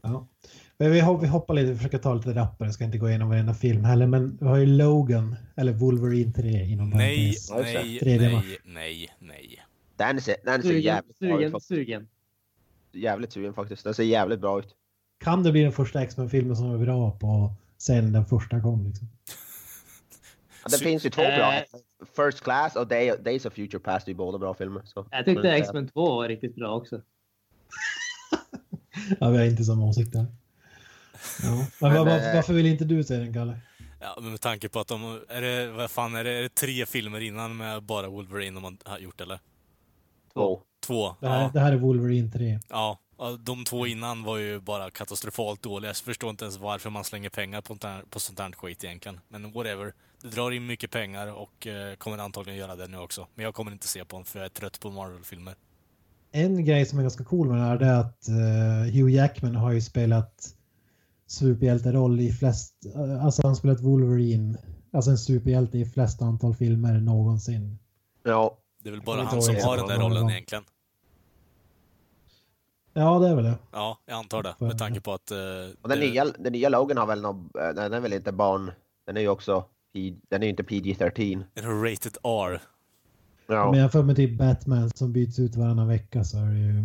Speaker 3: Ja. Men vi hop- vi hoppar lite, vi försöker ta lite rappare. Jag ska inte gå igenom varenda film heller, men vi har ju Logan, eller Wolverine 3 inom
Speaker 1: Nej,
Speaker 3: parentes.
Speaker 2: Ja, just det.
Speaker 1: nej,
Speaker 3: Tredje
Speaker 1: nej, nej, nej.
Speaker 2: Den ser, den ser
Speaker 4: Sugen,
Speaker 2: jävligt bra ut.
Speaker 4: sugen,
Speaker 2: faktiskt.
Speaker 4: sugen.
Speaker 2: Jävligt sugen faktiskt. Den ser jävligt bra ut.
Speaker 3: Kan det bli den första X-Men-filmen som är bra på sen den första kom? Liksom?
Speaker 2: Ja, det
Speaker 1: Su-
Speaker 2: finns ju två bra.
Speaker 4: Äh.
Speaker 2: First Class och Day, Days of Future Past är ju båda bra filmer. Så. Mm.
Speaker 4: Jag tyckte
Speaker 2: Men,
Speaker 4: X-Men 2 var riktigt bra också.
Speaker 3: Ja, vi har inte samma åsikt där. Ja. Men,
Speaker 2: Men,
Speaker 3: varför,
Speaker 2: eh,
Speaker 3: varför vill inte du se den, Kalle?
Speaker 1: Ja, men med tanke på att de, är det, vad fan är det, är det tre filmer innan med bara Wolverine de har gjort eller?
Speaker 2: Två.
Speaker 1: Två?
Speaker 3: Det här,
Speaker 1: Ja,
Speaker 3: det här är Wolverine 3.
Speaker 1: ja. Ja, De två innan var ju bara katastrofalt dåliga. Jag förstår inte ens varför man slänger pengar på, sånt här- på sånt här skit egentligen. Men whatever. Det drar in mycket pengar och eh, kommer antagligen göra det nu också. Men jag kommer inte se på den för jag är trött på Marvel-filmer.
Speaker 3: En grej som är ganska cool med den här det är att eh, Hugh Jackman har ju spelat superhjälteroll i flest, eh, alltså han har spelat Wolverine, alltså en superhjälte i flest antal filmer någonsin.
Speaker 2: Ja,
Speaker 1: Det är väl
Speaker 3: kommer
Speaker 1: bara
Speaker 3: inte
Speaker 1: han
Speaker 3: ihåg
Speaker 1: som
Speaker 2: det.
Speaker 1: har den där rollen egentligen.
Speaker 3: Ja, det är väl det.
Speaker 1: Ja, jag antar det. Med tanke på att... Eh,
Speaker 2: och den,
Speaker 1: det-
Speaker 2: nya, den nya Logan har väl någon, eh, den är väl inte barn... Den är ju också... P- Den är ju inte PG-13.
Speaker 1: är det Rated R.
Speaker 3: Men
Speaker 2: Ja.
Speaker 3: jag får mig till Batman som byts ut varannan vecka så är det ju...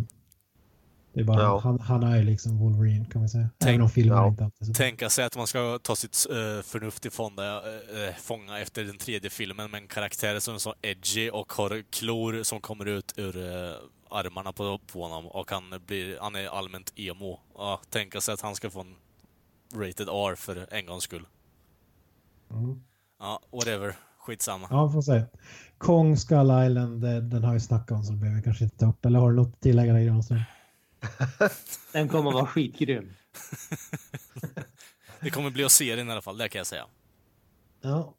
Speaker 3: Det är bara,
Speaker 2: Ja.
Speaker 3: han, han är ju liksom Wolverine kan vi säga.
Speaker 1: Tänk-
Speaker 3: Även om filmen
Speaker 2: ja.
Speaker 3: inte alltid är så.
Speaker 1: tänka sig att man ska ta sitt eh, förnuft i fånga, eh, fånga efter den tredje filmen med en karaktär som är så edgy och har klor som kommer ut ur eh, armarna på, på honom och han, blir, han är allmänt emo. Ja, tänka sig att han ska få en rated R för en gångs skull.
Speaker 3: Mm.
Speaker 1: Ja, whatever. Skitsamma.
Speaker 3: Ja, vi får se. Kong Skull Island, eh, den har vi snackat om så det behöver vi kanske inte ta upp. Eller har du något att tillägga där Granström?
Speaker 4: Den kommer att vara <laughs> skitgrym.
Speaker 1: Det kommer bli att se den i alla fall, det kan jag säga.
Speaker 3: Ja.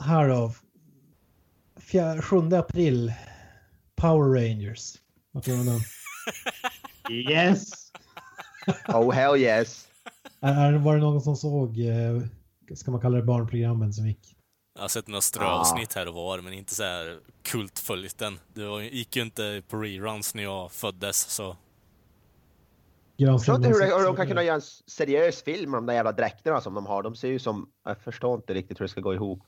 Speaker 3: Här då. Fjär, 7 april. Power Rangers. Vad tror du om den?
Speaker 4: Yes!
Speaker 2: Oh hell yes!
Speaker 3: Är, är, var det någon som såg, eh, ska man kalla det barnprogrammen som gick?
Speaker 1: Jag har sett några ströavsnitt här och var, men inte så här kult följt den. Det var, gick ju inte på reruns när jag föddes, så
Speaker 2: Jag förstår
Speaker 3: Granström,
Speaker 2: inte
Speaker 3: har
Speaker 2: hur,
Speaker 3: du
Speaker 2: det,
Speaker 3: sett
Speaker 2: hur
Speaker 3: så-
Speaker 2: de kan kunna göra en s- seriös film med de där jävla dräkterna som de har. De ser ju som... Jag förstår inte riktigt hur det ska gå ihop.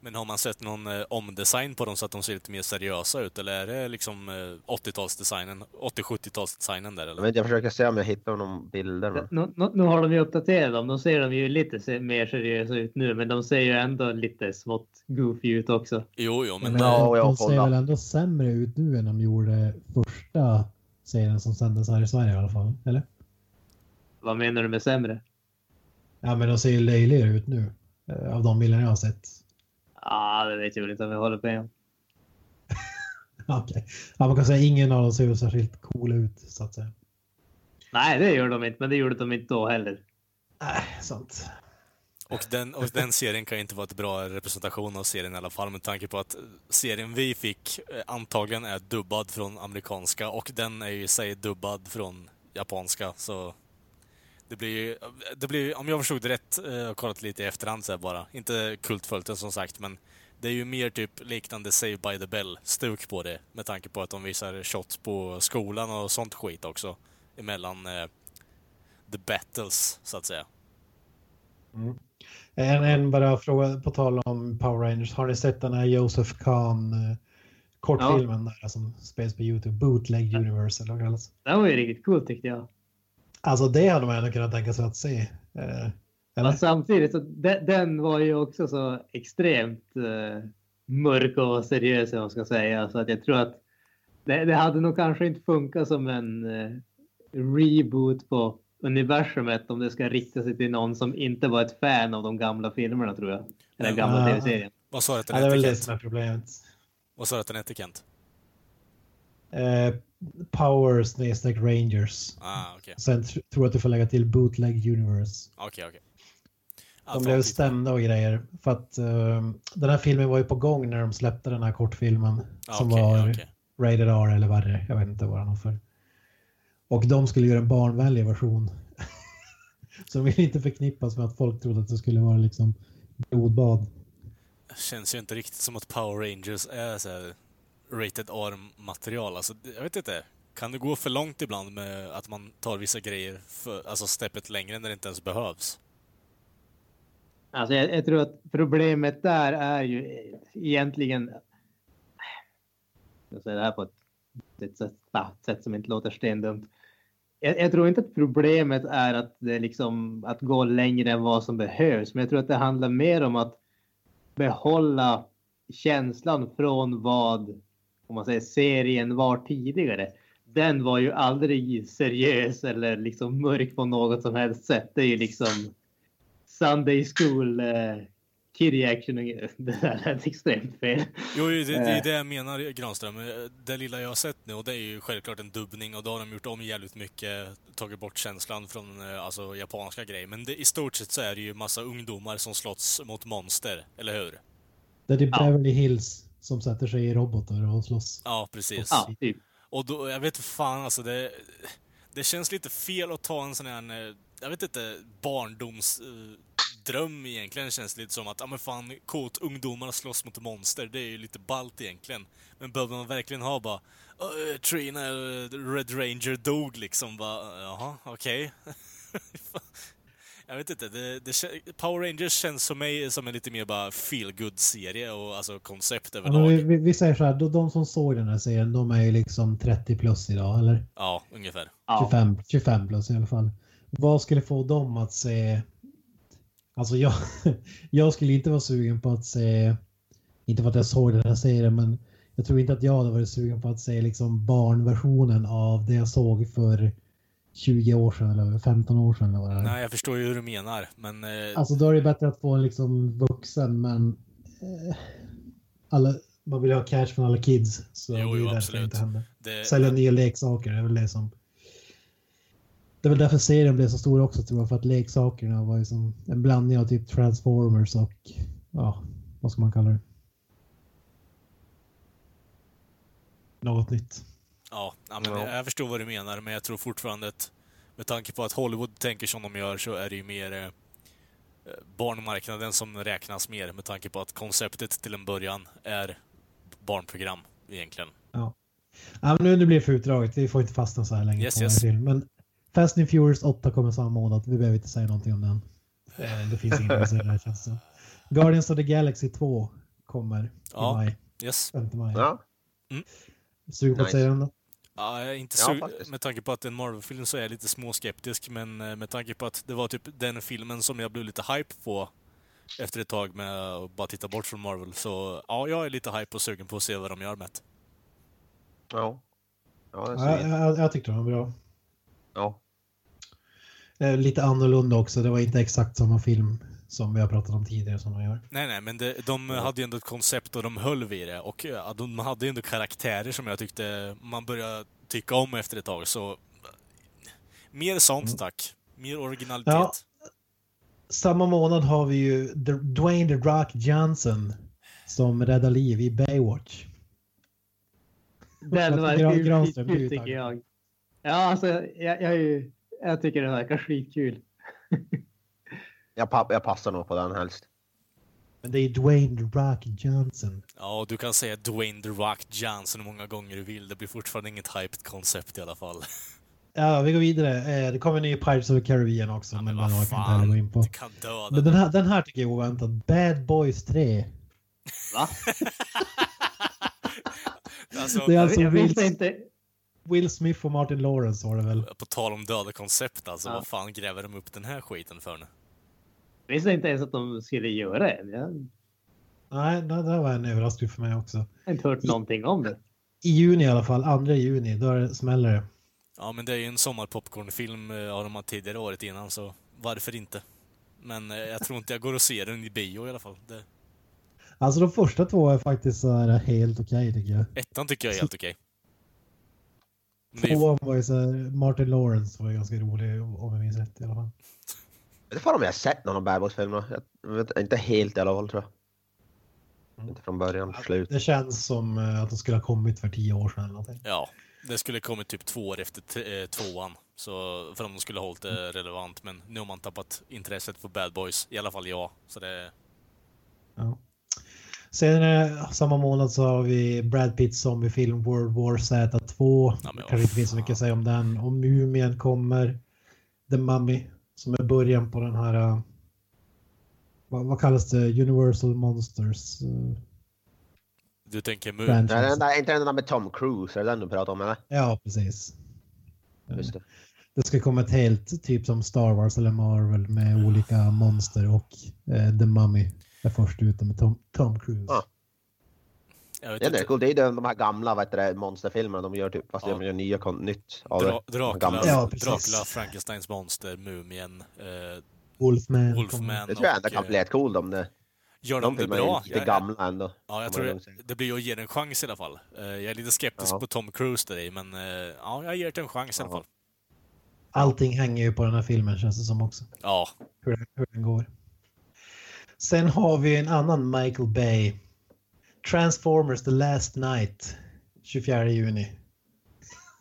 Speaker 1: Men har man sett någon eh, omdesign på dem så att de ser lite mer seriösa ut? Eller är det liksom eh, 80-talsdesignen, 80-70-talsdesignen där
Speaker 2: Jag,
Speaker 1: eller?
Speaker 2: vet, inte, jag försöker se om jag hittar någon bilder. Men...
Speaker 4: Nu, nu, nu har de ju uppdaterat dem. De ser de ju lite se- mer seriösa ut nu, men de ser ju ändå lite smått goofy ut också.
Speaker 1: Jo, jo, men...
Speaker 3: Men
Speaker 2: Ja, jag
Speaker 3: de ser
Speaker 2: kollar.
Speaker 3: väl ändå sämre ut nu än de gjorde första serien som sändes här i Sverige i alla fall. Eller?
Speaker 4: Vad menar du med sämre?
Speaker 3: Ja, men de ser ju löjligare ut nu. eh, Av de bilderna jag har sett.
Speaker 4: Ja, ah, det vet jag väl inte om jag håller med om.
Speaker 3: Okej. Ja, man kan säga ingen av dem ser ju särskilt cool ut så att säga.
Speaker 4: Nej, det gör de inte, men det gjorde de inte då heller.
Speaker 3: Nej, Äh, sant.
Speaker 1: Och, den, och den serien kan ju inte vara ett bra representation av serien i alla fall med tanke på att eh, serien vi fick eh, antagligen är dubbad från amerikanska och den är ju i sig dubbad från japanska, så... Det blir ju, det blir, ju- om jag förstod det rätt, eh, jag har kollat lite i efterhand så här bara, inte kultföljden som sagt, men Det är ju mer typ liknande Save by the Bell-stuk på det med tanke på att de visar shots på skolan och sånt skit också. Emellan eh, the battles, så att säga.
Speaker 3: En, en bara fråga på tal om Power Rangers. Har ni sett den här Joseph Kahn eh, kortfilmen där som spelas på Youtube? Bootleg Universe eller vad det kallas.
Speaker 4: Det var ju riktigt coolt tyckte jag.
Speaker 3: Alltså det hade man ändå kunnat tänka sig att se. Eh,
Speaker 4: Men
Speaker 3: eller?
Speaker 4: samtidigt, så de, den var ju också så extremt eh, mörk och seriös om man ska säga. Så att jag tror att det, det hade nog kanske inte funkat som en eh, reboot på universumet om det ska rikta sig till någon som inte var ett fan av de gamla filmerna tror jag. Den där gamla
Speaker 3: Ja.
Speaker 4: tv-serien.
Speaker 1: Vad sa du att den
Speaker 3: Ja, det är väl
Speaker 1: hette
Speaker 3: det
Speaker 1: Kent?
Speaker 3: som är problemet.
Speaker 1: Vad sa du att den hette Kent?
Speaker 3: Eh, Power snedstreck Rangers.
Speaker 1: Ah, okej.
Speaker 3: Sen tr- tror jag att du får lägga till Bootleg Universe.
Speaker 1: Okej, okej.
Speaker 3: De
Speaker 1: Allt
Speaker 3: blev
Speaker 1: var-
Speaker 3: stämda och grejer. För att eh, den här filmen var ju på gång när de släppte den här kortfilmen.
Speaker 1: Ja,
Speaker 3: som
Speaker 1: okej,
Speaker 3: var
Speaker 1: ja, okej.
Speaker 3: Rated R eller vad det är. Jag vet inte vad den var för. Och de skulle göra en barnvänlig version. <laughs> så de ville inte förknippas med att folk trodde att det skulle vara liksom blodbad.
Speaker 1: Känns ju inte riktigt som att Power Rangers är så här rated R-material. Alltså, det- jag vet inte. Kan det gå för långt ibland med att man tar vissa grejer, för, alltså steppet längre när det inte ens behövs?
Speaker 4: Alltså jag, jag tror att problemet där är ju eh, egentligen... Jag säger det här på ett, ett, sätt- ah, ett sätt som inte låter stendumt. Jag, jag tror inte att problemet är att det är liksom att gå längre än vad som behövs, men jag tror att det handlar mer om att behålla känslan från vad, om man säger serien var tidigare. Den var ju aldrig seriös eller liksom mörk på något som helst sätt. Det är ju liksom Sunday School eh, Kid Action. och- <laughs> Det där lät extremt fel.
Speaker 1: Jo, ju, det, det är
Speaker 4: Eh.
Speaker 1: det jag menar Granström. Eh, Det lilla jag har sett nu, och det är ju självklart en dubbning och då har de gjort om jävligt mycket, tagit bort känslan från eh, alltså, japanska grejer. Men det, i stort sett så är det ju massa ungdomar som slåss mot monster, eller hur?
Speaker 3: Det är typ
Speaker 4: Ja.
Speaker 3: Beverly Hills som sätter sig i robotar och slåss.
Speaker 1: Ja, precis.
Speaker 4: Ja, typ.
Speaker 1: Och då, jag vet fan alltså det... Det känns lite fel att ta en sån här, eh, jag vet inte, barndomsdröm egentligen. Det känns lite som att, ja men fan, kåt ungdomar slåss mot monster, det är ju lite ballt egentligen. Men behöver man verkligen ha bara, "Ö, Trina, eh, Red Ranger dog liksom, bara, jaha, okej. <laughs> jag vet inte, det, det, kän- Power Rangers känns för mig som en lite mer bara feel good serie och alltså koncept
Speaker 3: Ja, men vi,
Speaker 1: överlag.
Speaker 3: vi, vi säger så här, de, de som såg den här serien, de är ju liksom 30 plus idag, eller
Speaker 1: Ja, ungefär.
Speaker 4: Ja.
Speaker 3: 25, 25 plus i alla fall. Vad skulle få dem att se... Alltså jag, <laughs> jag skulle inte vara sugen på att se... Inte för att jag såg den här serien, men jag tror inte att jag hade varit sugen på att se liksom barnversionen av det jag såg för 20 år sedan eller 15 år sedan. Eller vad det är.
Speaker 1: Nej, jag förstår ju hur du menar, men... eh,
Speaker 3: Alltså då är det bättre att få en liksom vuxen men eh, alla, man vill ju ha cash från alla kids. Så
Speaker 1: Jo,
Speaker 3: det är
Speaker 1: jo,
Speaker 3: ju därför
Speaker 1: absolut.
Speaker 3: det inte händer.
Speaker 1: Det,
Speaker 3: Sälja nya leksaker, det är väl det som... Det är väl därför serien blev så stor också tror jag, för att leksakerna var ju som en blandning av typ Transformers och ja, vad ska man kalla det? Något nytt.
Speaker 1: ja, ja, men
Speaker 2: Ja.
Speaker 1: Jag förstår vad du menar, men jag tror fortfarande att med tanke på att Hollywood tänker som de gör så är det ju mer eh, barnmarknaden som räknas mer med tanke på att konceptet till en början är barnprogram egentligen.
Speaker 3: Ja, men nu, nu blir det för utdraget, vi får inte fastna så här länge.
Speaker 1: Yes,
Speaker 3: på en
Speaker 1: yes.
Speaker 3: Film. Men Fast and Furious 8 kommer samma månad, vi behöver inte säga någonting om den. Eh, Det finns inget att säga där känns det som. Guardians of the Galaxy 2 kommer
Speaker 1: Ja.
Speaker 3: i maj,
Speaker 1: Yes.
Speaker 3: 5 maj.
Speaker 2: Ja.
Speaker 3: Sugen på att
Speaker 2: Nice.
Speaker 3: säga den då?
Speaker 1: Ja, jag är inte
Speaker 2: Ja,
Speaker 1: så,
Speaker 2: faktiskt.
Speaker 1: med tanke på att det är en Marvel-film så är jag lite småskeptisk, men eh, med tanke på att det var typ den filmen som jag blev lite hype på efter ett tag med att bara titta bort från Marvel, så ja, jag är lite hype och sugen på att se vad de gör med det.
Speaker 2: Ja. Ja, det
Speaker 3: Ja,
Speaker 2: ser
Speaker 3: jag, jag, jag tyckte den var bra.
Speaker 2: ja.
Speaker 3: Eh, Lite annorlunda också, det var inte exakt samma film som vi har pratat om tidigare som de gör.
Speaker 1: Nej, nej, men det, de
Speaker 2: Ja.
Speaker 1: hade ju ändå ett koncept och de höll vid det. Och eh, ja, de hade ju ändå karaktärer som jag tyckte man började tycka om efter ett tag. Så eh, mer sånt tack. Mer originalitet.
Speaker 3: Mm. Ja. Samma månad har vi ju The- Dwayne The Rock Johnson som räddar liv i Baywatch.
Speaker 4: Den
Speaker 3: Att
Speaker 4: verkar
Speaker 3: Gran-
Speaker 4: ju
Speaker 3: Granström blir
Speaker 4: skitkul tycker
Speaker 3: uttagen.
Speaker 4: jag. Ja, alltså jag, jag, är ju- jag tycker det verkar skitkul.
Speaker 2: Jag, pa- jag passar nog på den helst.
Speaker 3: Men det är Dwayne The Rock Johnson.
Speaker 1: Ja, och du kan säga Dwayne The Rock Johnson hur många gånger du vill. Det blir fortfarande inget hyped koncept i alla fall.
Speaker 3: Ja, vi går vidare. Eh, Det kommer en ny Pirates of the Caribbean också,
Speaker 1: Ja,
Speaker 3: men
Speaker 1: men
Speaker 3: den
Speaker 1: vad
Speaker 3: orkar inte heller
Speaker 1: fan.
Speaker 3: gå in på.
Speaker 1: Du kan döda
Speaker 3: Men den här, den här tycker jag är oväntad. Bad Boys 3.
Speaker 4: Va?
Speaker 1: Alltså,
Speaker 3: Det är alltså
Speaker 4: Jag, jag
Speaker 3: Will,
Speaker 4: visste inte.
Speaker 3: Will Smith och Martin Lawrence var det väl?
Speaker 1: på tal om döda koncept alltså.
Speaker 4: Ja.
Speaker 1: Vad fan gräver de upp den här skiten för nu?
Speaker 4: visste inte ens att de skulle göra det. Jag har
Speaker 3: Nej, det där var en överraskning för mig också.
Speaker 4: inte hört någonting om det.
Speaker 3: I juni i alla fall, 2 juni, då är det smäller det.
Speaker 1: Ja, men det är ju en sommarpopcornfilm eh, har de haft tidigare året innan, så varför inte? Men eh, jag tror inte jag går och ser den i bio i alla fall. Det,
Speaker 3: Alltså de första två är faktiskt så här helt okej tycker jag.
Speaker 1: ettan tycker jag är helt okej. Men det är-
Speaker 3: Tvåan var ju så här, Martin Lawrence var ju ganska rolig om jag minns rätt i alla fall.
Speaker 2: Jag vet fan om jag har sett någon av Bad Boys-filmerna. Jag vet Inte helt i alla fall tror
Speaker 1: Mm.
Speaker 2: jag. Inte från början till slut.
Speaker 3: Det känns som eh, att de skulle ha kommit för tio år sedan eller någonting.
Speaker 1: Ja, det skulle kommit typ två år efter t- eh, tvåan. Så för om de skulle hållit
Speaker 3: Mm.
Speaker 1: det relevant. Men nu har man tappat intresset för Bad Boys. I alla fall jag. Så det...
Speaker 3: Ja. Sen eh, samma månad så har vi Brad Pitts zombiefilm World War Z 2.
Speaker 1: Ja, men
Speaker 3: Kanske inte finns så
Speaker 1: vad
Speaker 3: mycket att säga om den. Och Mumien kommer. The Mummy som är början på den här. eh, Vad, vad kallas det? Universal Monsters. eh,
Speaker 1: Du tänker mu...
Speaker 3: franchise.
Speaker 2: Nej, den där, inte den där med Tom Cruise, är det den du pratar om eller?
Speaker 3: Ja, precis.
Speaker 1: Mm.
Speaker 2: Just det.
Speaker 3: Det ska komma ett helt typ som Star Wars eller Marvel med olika monster och eh, The Mummy är först ute med Tom, Tom Cruise.
Speaker 2: Ja.
Speaker 1: Jag vet
Speaker 2: Det är
Speaker 1: inte.
Speaker 2: det, cool. det är ju de, de här gamla vad heter det, monsterfilmerna de gör typ, fast
Speaker 1: Ja.
Speaker 2: de gör nya, kon- nytt av det.
Speaker 1: Dra-
Speaker 2: De gamla.
Speaker 1: Dracula,
Speaker 3: Ja, precis.
Speaker 1: Dracula, Frankensteins monster, Mumien, eh,
Speaker 3: Wolfman.
Speaker 1: Wolfman
Speaker 2: Det tror jag ändå
Speaker 1: och...
Speaker 2: kan
Speaker 1: eh,
Speaker 2: bli rätt cool om det.
Speaker 1: Gör de
Speaker 2: De
Speaker 1: det
Speaker 2: filmerna är ju
Speaker 1: bra?
Speaker 2: lite
Speaker 1: Jag-
Speaker 2: gamla ändå.
Speaker 1: Ja, jag
Speaker 2: får
Speaker 1: tror
Speaker 2: man
Speaker 1: det,
Speaker 2: lugnt säga.
Speaker 1: det blir att ge den en chans i alla fall. Eh, Jag är lite skeptisk
Speaker 2: Ja.
Speaker 1: på Tom Cruise till dig, men eh, ja, jag ger det en chans i alla
Speaker 2: Ja.
Speaker 1: fall.
Speaker 3: Allting hänger ju på den här filmen känns det som också.
Speaker 1: Ja,
Speaker 3: Hur, den- hur den går. Sen har vi en annan Michael Bay. Transformers The Last Night. 24 juni.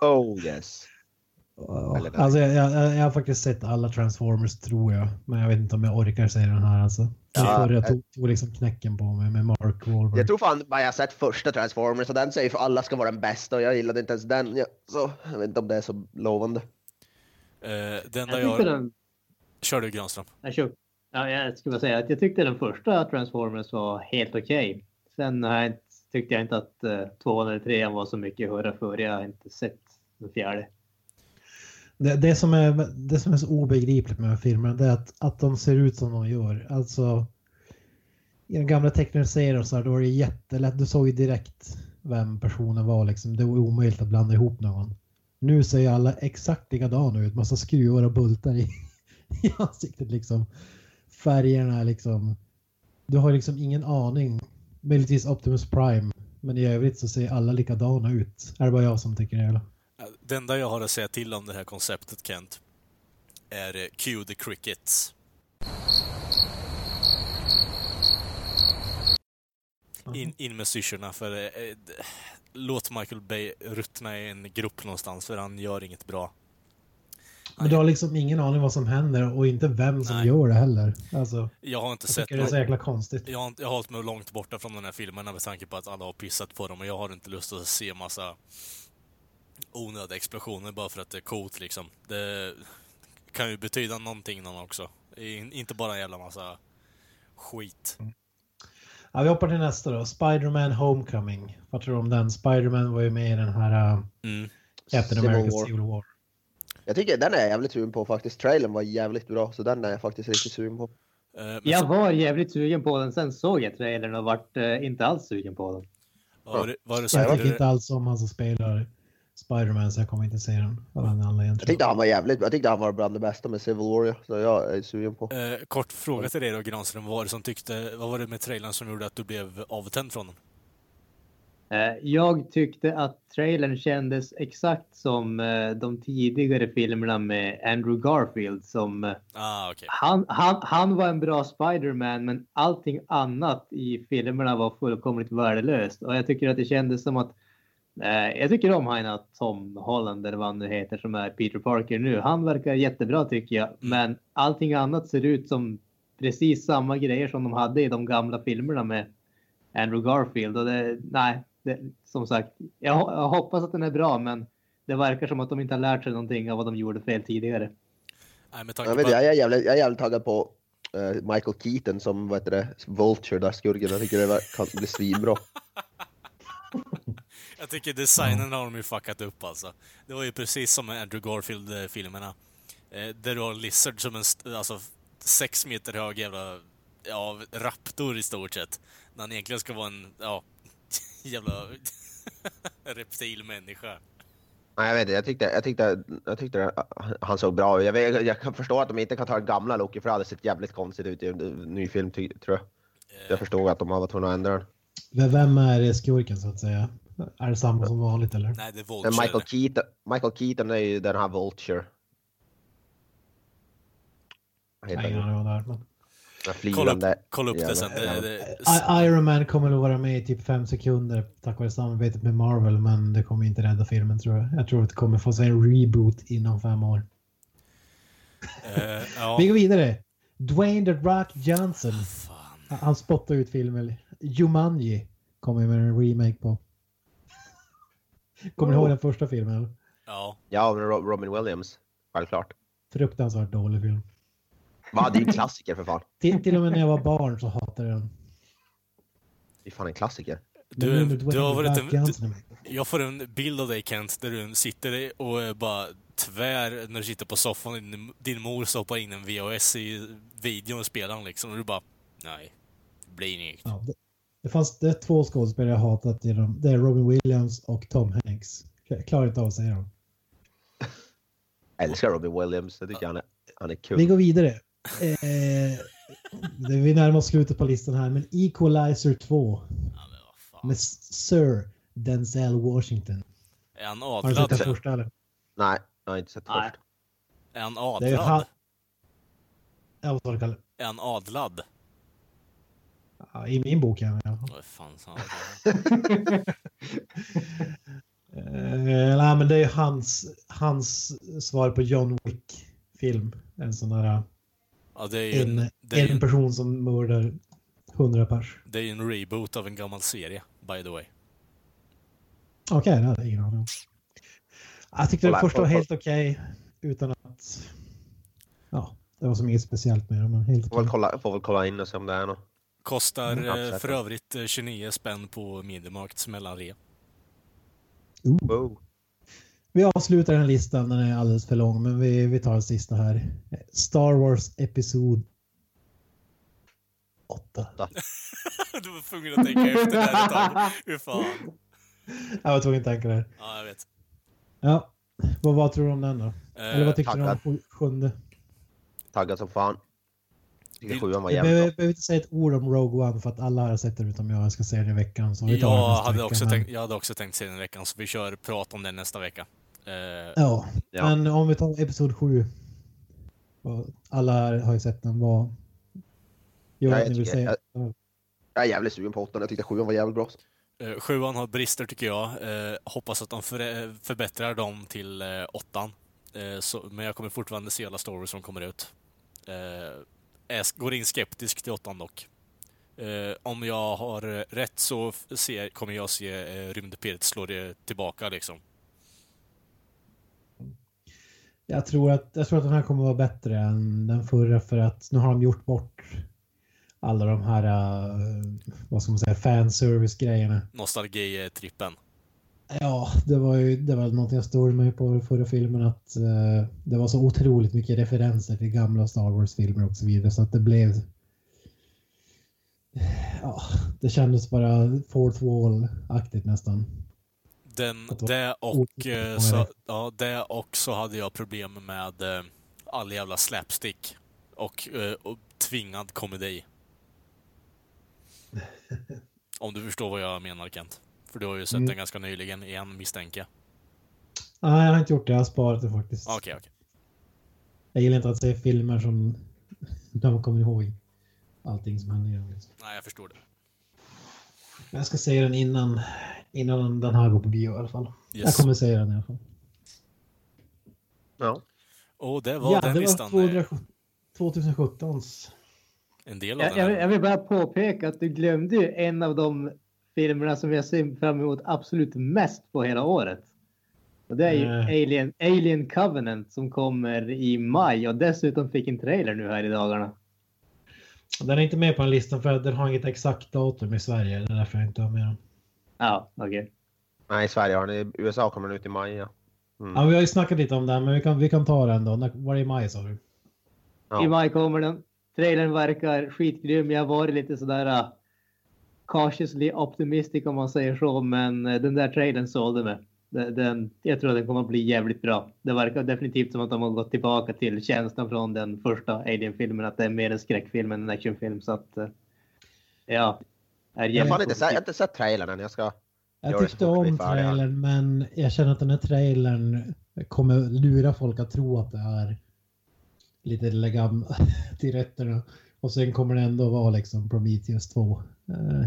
Speaker 2: Oh yes.
Speaker 3: Ja,
Speaker 2: Eller-
Speaker 3: Alltså jag, jag, jag har faktiskt sett alla Transformers tror jag. Men jag vet inte om jag orkar se den här alltså. Den
Speaker 2: Ja,
Speaker 3: förra
Speaker 2: jag-
Speaker 3: tog, tog liksom knäcken på mig med Mark Wahlberg.
Speaker 2: Jag tror fan bara jag har sett första Transformers och den säger för alla ska vara den bästa och jag gillade inte ens den. Ja, så jag vet inte om det är så lovande.
Speaker 1: eh, det enda
Speaker 4: Jag tyckte
Speaker 1: jag...
Speaker 4: den...
Speaker 1: Kör du Granström.
Speaker 4: Jag, kör- ja, jag skulle bara säga att jag tyckte den första Transformers var helt okej. Sen har jag inte, tyckte jag inte att eh, tvåan eller trean var så mycket att hurra för. Jag har inte sett den fjärde.
Speaker 3: Det, det, som är, det som är så obegripligt med de här filmerna det är att, att de ser ut som de gör. Alltså, I de gamla tecknarserierna så här, då var det jättelätt. Du såg ju direkt vem personen var. Liksom. Det var omöjligt att blanda ihop någon. Nu ser ju alla exakt likadana ut. Massa skruvar och bultar i, <laughs> i ansiktet. Liksom. Färgerna liksom. Du har liksom ingen aning. Möjligtvis Optimus Prime. Men i övrigt så ser alla likadana ut. Är det bara jag som tycker det? Eller?
Speaker 1: Eh, Det enda jag har att säga till om det här konceptet, Kent, är eh, Cue the Crickets. In, in med syrsorna, för eh, eh, d- låt Michael Bay ruttna i en grupp någonstans, för han gör inget bra.
Speaker 3: Men du har liksom ingen aning vad som händer och inte vem som
Speaker 1: Nej.
Speaker 3: gör det heller. Alltså,
Speaker 1: Jag har inte
Speaker 3: jag
Speaker 1: sett
Speaker 3: tycker det är
Speaker 1: någon-
Speaker 3: så jäkla konstigt.
Speaker 1: Jag har, inte- jag har hållit mig långt borta från de här filmerna med tanke på att alla har pissat på dem och jag har inte lust att se massa onödiga explosioner bara för att det är coolt liksom. Det kan ju betyda någonting någon också. In, inte bara en jävla massa skit.
Speaker 3: Ja, vi hoppar till nästa då. Spider-Man Homecoming. Vad tror du om den? Spider-Man var ju med i den här äh,
Speaker 1: Mm.
Speaker 3: Captain
Speaker 2: Civil
Speaker 3: America
Speaker 2: War.
Speaker 3: Civil War.
Speaker 2: Jag tycker den är jag jävligt sugen på faktiskt. Trailern var jävligt bra så den är jag faktiskt riktigt sugen på.
Speaker 1: Eh, men
Speaker 4: Jag
Speaker 1: så-
Speaker 4: var jävligt sugen på den. Sen såg jag trailern och vart eh, inte alls sugen på den.
Speaker 1: vad var det- vad var det som
Speaker 3: Jag
Speaker 1: gjorde
Speaker 3: tycker
Speaker 1: det?
Speaker 3: inte alls om han som spelar Spider-Man så jag kommer inte se den av den anledningen.
Speaker 2: Jag
Speaker 3: tror jag.
Speaker 2: tyckte han var jävligt bra. Jag tyckte han var bland det bästa med Civil War ja. så jag är sugen på.
Speaker 1: Eh, kort fråga till dig då Granström, vad var det som tyckte, vad var det med trailern som gjorde att du blev avtänd från den?
Speaker 4: Eh, Jag tyckte att trailern kändes exakt som eh, de tidigare filmerna med Andrew Garfield som eh,
Speaker 1: Ah, okej.
Speaker 4: han, han, han var en bra Spider-Man men allting annat i filmerna var fullkomligt värdelöst. Och jag tycker att det kändes som att... Eh, jag tycker om han att Tom Holland eller vad han nu heter som är Peter Parker nu. Han verkar jättebra tycker jag. Men allting annat ser ut som precis samma grejer som de hade i de gamla filmerna med Andrew Garfield. Och det, nej, det, som sagt. Jag, ho- jag hoppas att den är bra men det verkar som att de inte har lärt sig någonting av vad de gjorde fel tidigare.
Speaker 1: Nej, med
Speaker 2: Jag,
Speaker 1: tanke
Speaker 2: vet,
Speaker 1: på
Speaker 2: inte,
Speaker 1: att,
Speaker 2: jag, är jävligt, jag är jävligt taggad på eh, Michael Keaton som vad heter det, Vulture, där skurken. Jag tycker det var- kan bli svinbra.
Speaker 1: jag tycker designen har de ju fuckat upp alltså. Det var ju precis som med Andrew Garfield-filmerna. Eh, där du har Lizard som en st- alltså, sex meter hög jävla ja, raptor i stort sett. När han egentligen <laughs> ska vara en ja, jävla <laughs> reptilmänniska.
Speaker 2: <laughs> Nej, jag vet inte. Jag tyckte, jag tyckte, jag tyckte han såg bra ut. Jag, vet- jag kan förstå att de inte kan ta den gamla Loki för det hade sett jävligt konstigt ut i en ny film ty, tror jag. Jag förstod att de var tvungna att ändra den.
Speaker 3: V- Vem är skurken så att säga? Är det samma som vanligt eller?
Speaker 1: Nej, det är
Speaker 2: Men
Speaker 1: Vulture.
Speaker 2: Michael Keaton, Michael Keaton är ju den här Vulture. Vad heter
Speaker 3: Nej, ingen
Speaker 2: han?
Speaker 3: aning om det är. men-
Speaker 2: Den här
Speaker 1: Kolla upp,
Speaker 2: flygande
Speaker 1: kolla upp det
Speaker 2: jäveln.
Speaker 1: sen. Det, det,
Speaker 3: I- Iron Man kommer att vara med i typ fem sekunder tack vare samarbetet med Marvel, men det kommer inte rädda filmen tror jag. Jag tror att det kommer få sig en reboot inom fem år.
Speaker 1: eh, ja.
Speaker 3: Vi går vidare. Dwayne The Rock Johnson.
Speaker 1: Fan.
Speaker 3: Han spottar ut filmen. Jumanji kommer ju med en remake på. Kommer ni
Speaker 1: Oh.
Speaker 3: ihåg den första filmen? eller?
Speaker 1: Ja.
Speaker 2: Ja, men Ro- Robin Williams. Självklart.
Speaker 3: Fruktansvärt dålig film.
Speaker 2: Va, det är ju en klassiker för fan.
Speaker 3: Till, till och med när jag var barn så hatade jag den.
Speaker 2: Det är fan en klassiker.
Speaker 3: Men
Speaker 1: Du,
Speaker 3: nu med
Speaker 1: du
Speaker 3: Dwayne
Speaker 1: har
Speaker 3: The
Speaker 1: varit
Speaker 3: Rock
Speaker 1: en, du,
Speaker 3: Johnson är med.
Speaker 1: jag får en bild av dig Kent, där du sitter och är bara tvär när du sitter på soffan. och Din, din mor stoppar in en VHS i videon och spelar den liksom. Och du bara, nej. Det blir inget.
Speaker 3: Ja, det, det fanns det är två skådespelare jag hatat. i dem. Det är Robin Williams och Tom Hanks. Jag klarar inte av att säga dem.
Speaker 2: Jag älskar Robin Williams. Jag tycker han är, han är
Speaker 3: Vi
Speaker 2: kul.
Speaker 3: går vidare. Eh, det, vi närmar oss slutet på listan här, men Equalizer 2
Speaker 1: Ja, men vad fan.
Speaker 3: med Sir Denzel Washington.
Speaker 1: Är han
Speaker 3: Har du sett
Speaker 1: adlad?
Speaker 3: den
Speaker 1: sen?
Speaker 3: första eller?
Speaker 2: Nej, jag har inte sett
Speaker 4: Nej.
Speaker 2: först.
Speaker 1: Är han
Speaker 3: Det är ju han...
Speaker 1: adlad?
Speaker 3: Ja, vad sa du Kalle?
Speaker 1: Är han adlad?
Speaker 3: Ja, I min bok ja. ja.
Speaker 1: Vad fan sa han?
Speaker 3: Eh, nej, men det är ju hans, hans svar på John Wick-film. En sån där,
Speaker 1: Ja, det är ju
Speaker 3: en,
Speaker 1: en, det är ju
Speaker 3: en
Speaker 1: en,
Speaker 3: person som mördar hundra pers.
Speaker 1: det är ju en reboot av en gammal serie, by the way.
Speaker 3: Okej, det hade jag ingen aning om. Jag tyckte
Speaker 2: Kolla,
Speaker 3: det första var
Speaker 2: kolla,
Speaker 3: helt okej. utan att... Ja, det var som inget speciellt med det, men helt
Speaker 2: Får
Speaker 3: okej.
Speaker 2: väl, kolla, får väl kolla in och se om det är något.
Speaker 1: Kostar
Speaker 2: Mm,
Speaker 1: eh,
Speaker 2: absolut.
Speaker 1: för övrigt eh, 29 spänn på Mediamarkts mellanrea.
Speaker 3: Ooh.
Speaker 2: Wow.
Speaker 3: Vi avslutar den här listan, den är alldeles för lång, men vi, vi tar den sista här. Star Wars Episod 8.
Speaker 1: <laughs> du var tvungen att tänka efter där ett tag. Hur fan?
Speaker 3: Jag var tvungen att tänka där.
Speaker 1: Ja, jag vet.
Speaker 3: Ja, vad, vad tror du om den då? Eller
Speaker 1: Eh,
Speaker 3: vad tyckte du om
Speaker 2: tackar.
Speaker 3: sju- sjunde?
Speaker 2: Taggad som fan. Tycker
Speaker 1: Vi-
Speaker 2: sjuan var
Speaker 3: Jag
Speaker 2: jävligt bra.
Speaker 3: behöver, behöver inte säga ett ord om Rogue One för att alla har sett den utom jag. Jag ska säga det i veckan. Så vi tar den
Speaker 1: jag,
Speaker 3: nästa
Speaker 1: hade
Speaker 3: vecka,
Speaker 1: också
Speaker 3: men-
Speaker 1: tänkt, jag hade också tänkt se den veckan, så vi kör prat om den nästa vecka. Eh,
Speaker 3: Ja,
Speaker 2: Ja.
Speaker 3: men om vi tar episod 7. Och Alla här har ju sett den. Vad gör
Speaker 2: Ja,
Speaker 3: att
Speaker 2: jag
Speaker 3: ni vill
Speaker 2: tycker-
Speaker 3: säga?
Speaker 2: Jag är jävligt sugen på åttan. Jag tyckte sjuan var jävligt bra.
Speaker 1: eh, sjuan har brister tycker jag. Eh, hoppas att de för, förbättrar dem till eh, åttan. Eh, så, men jag kommer fortfarande se alla stories som kommer ut. Eh, är, sk- går in skeptisk till åttan dock. Eh, om jag har eh, rätt så f- ser, kommer jag se eh, rymdpiret slå det tillbaka liksom.
Speaker 3: Jag tror, att, jag tror att den här kommer vara bättre än den förra för att nu har de gjort bort alla de här, eh, vad ska man säga, fanservice-grejerna.
Speaker 1: Nostalgitrippen.
Speaker 3: Ja, det var ju det var något jag stod med på förra filmen att eh, det var så otroligt mycket referenser till gamla Star Wars-filmer och så vidare så att det blev... Ja, det kändes bara fourth wall-aktigt nästan.
Speaker 1: Den,
Speaker 3: Att det var
Speaker 1: det och,
Speaker 3: otippat
Speaker 1: eh,
Speaker 3: många
Speaker 1: så,
Speaker 3: rätt.
Speaker 1: ja, det och så hade jag problem med eh, all jävla slapstick och, eh, och tvingad
Speaker 3: <laughs>
Speaker 1: komedi. Om du förstår vad jag menar Kent. För du har ju sett
Speaker 3: Mm.
Speaker 1: den ganska nyligen igen misstänker jag.
Speaker 3: Nej, jag har inte gjort det. Jag har sparat det faktiskt.
Speaker 1: Ah, Okej, okej.
Speaker 3: Jag gillar inte att se filmer som <laughs> där man kommer ihåg allting som händer. i dem, liksom.
Speaker 1: Nej, jag förstår det.
Speaker 3: Men jag ska se den innan, innan den här går på bio i alla fall. Jag
Speaker 1: Yes.
Speaker 3: kommer se den i alla fall.
Speaker 2: Ja.
Speaker 1: Och det var
Speaker 3: ja,
Speaker 1: den
Speaker 3: det
Speaker 1: listan.
Speaker 3: var
Speaker 1: eh,
Speaker 3: 200 2017s.
Speaker 1: En del av
Speaker 4: Jag,
Speaker 1: den.
Speaker 4: jag,
Speaker 1: här.
Speaker 4: vill- jag vill bara påpeka att du glömde ju en av de filmerna som jag ser fram emot absolut mest på hela året. Och det är ju
Speaker 3: Mm.
Speaker 4: Alien, Alien Covenant som kommer i maj och dessutom fick en trailer nu här i dagarna.
Speaker 3: Den är inte med på den listan för att den har inget exakt datum i Sverige. Det är därför jag inte har med den.
Speaker 4: Ja, okej.
Speaker 2: Nej, i Sverige har den. I USA kommer den ut i maj. Ja. Mm.
Speaker 3: Ja, vi har ju snackat lite om den, men vi kan, vi kan ta den då. När- Var det i maj sa du?
Speaker 2: Ja.
Speaker 4: I maj kommer den. Trailern verkar skitgrym. Jag har varit lite sådär uh, cautiously optimistic om man säger så, men eh, den där äh, trailern sålde mig. Den, den, jag tror att den kommer att bli jävligt bra. Det verkar definitivt som att de har gått tillbaka till känslan från den första Alien-filmen, att det är mer en skräckfilm än en actionfilm. Så att, eh, ja.
Speaker 2: Jag
Speaker 4: Är
Speaker 2: har
Speaker 4: jävligt
Speaker 2: fan inte, sett- jag har
Speaker 4: positivt.
Speaker 2: inte sett trailern än. Jag ska... Gör
Speaker 3: Jag
Speaker 2: det
Speaker 3: tyckte
Speaker 2: så fort vi är
Speaker 3: om
Speaker 2: färdiga.
Speaker 3: trailern men jag känner att den här trailern kommer lura folk att tro att det är lite legam <laughs> till rötterna. Och sen kommer det ändå vara liksom Prometheus 2. Eh,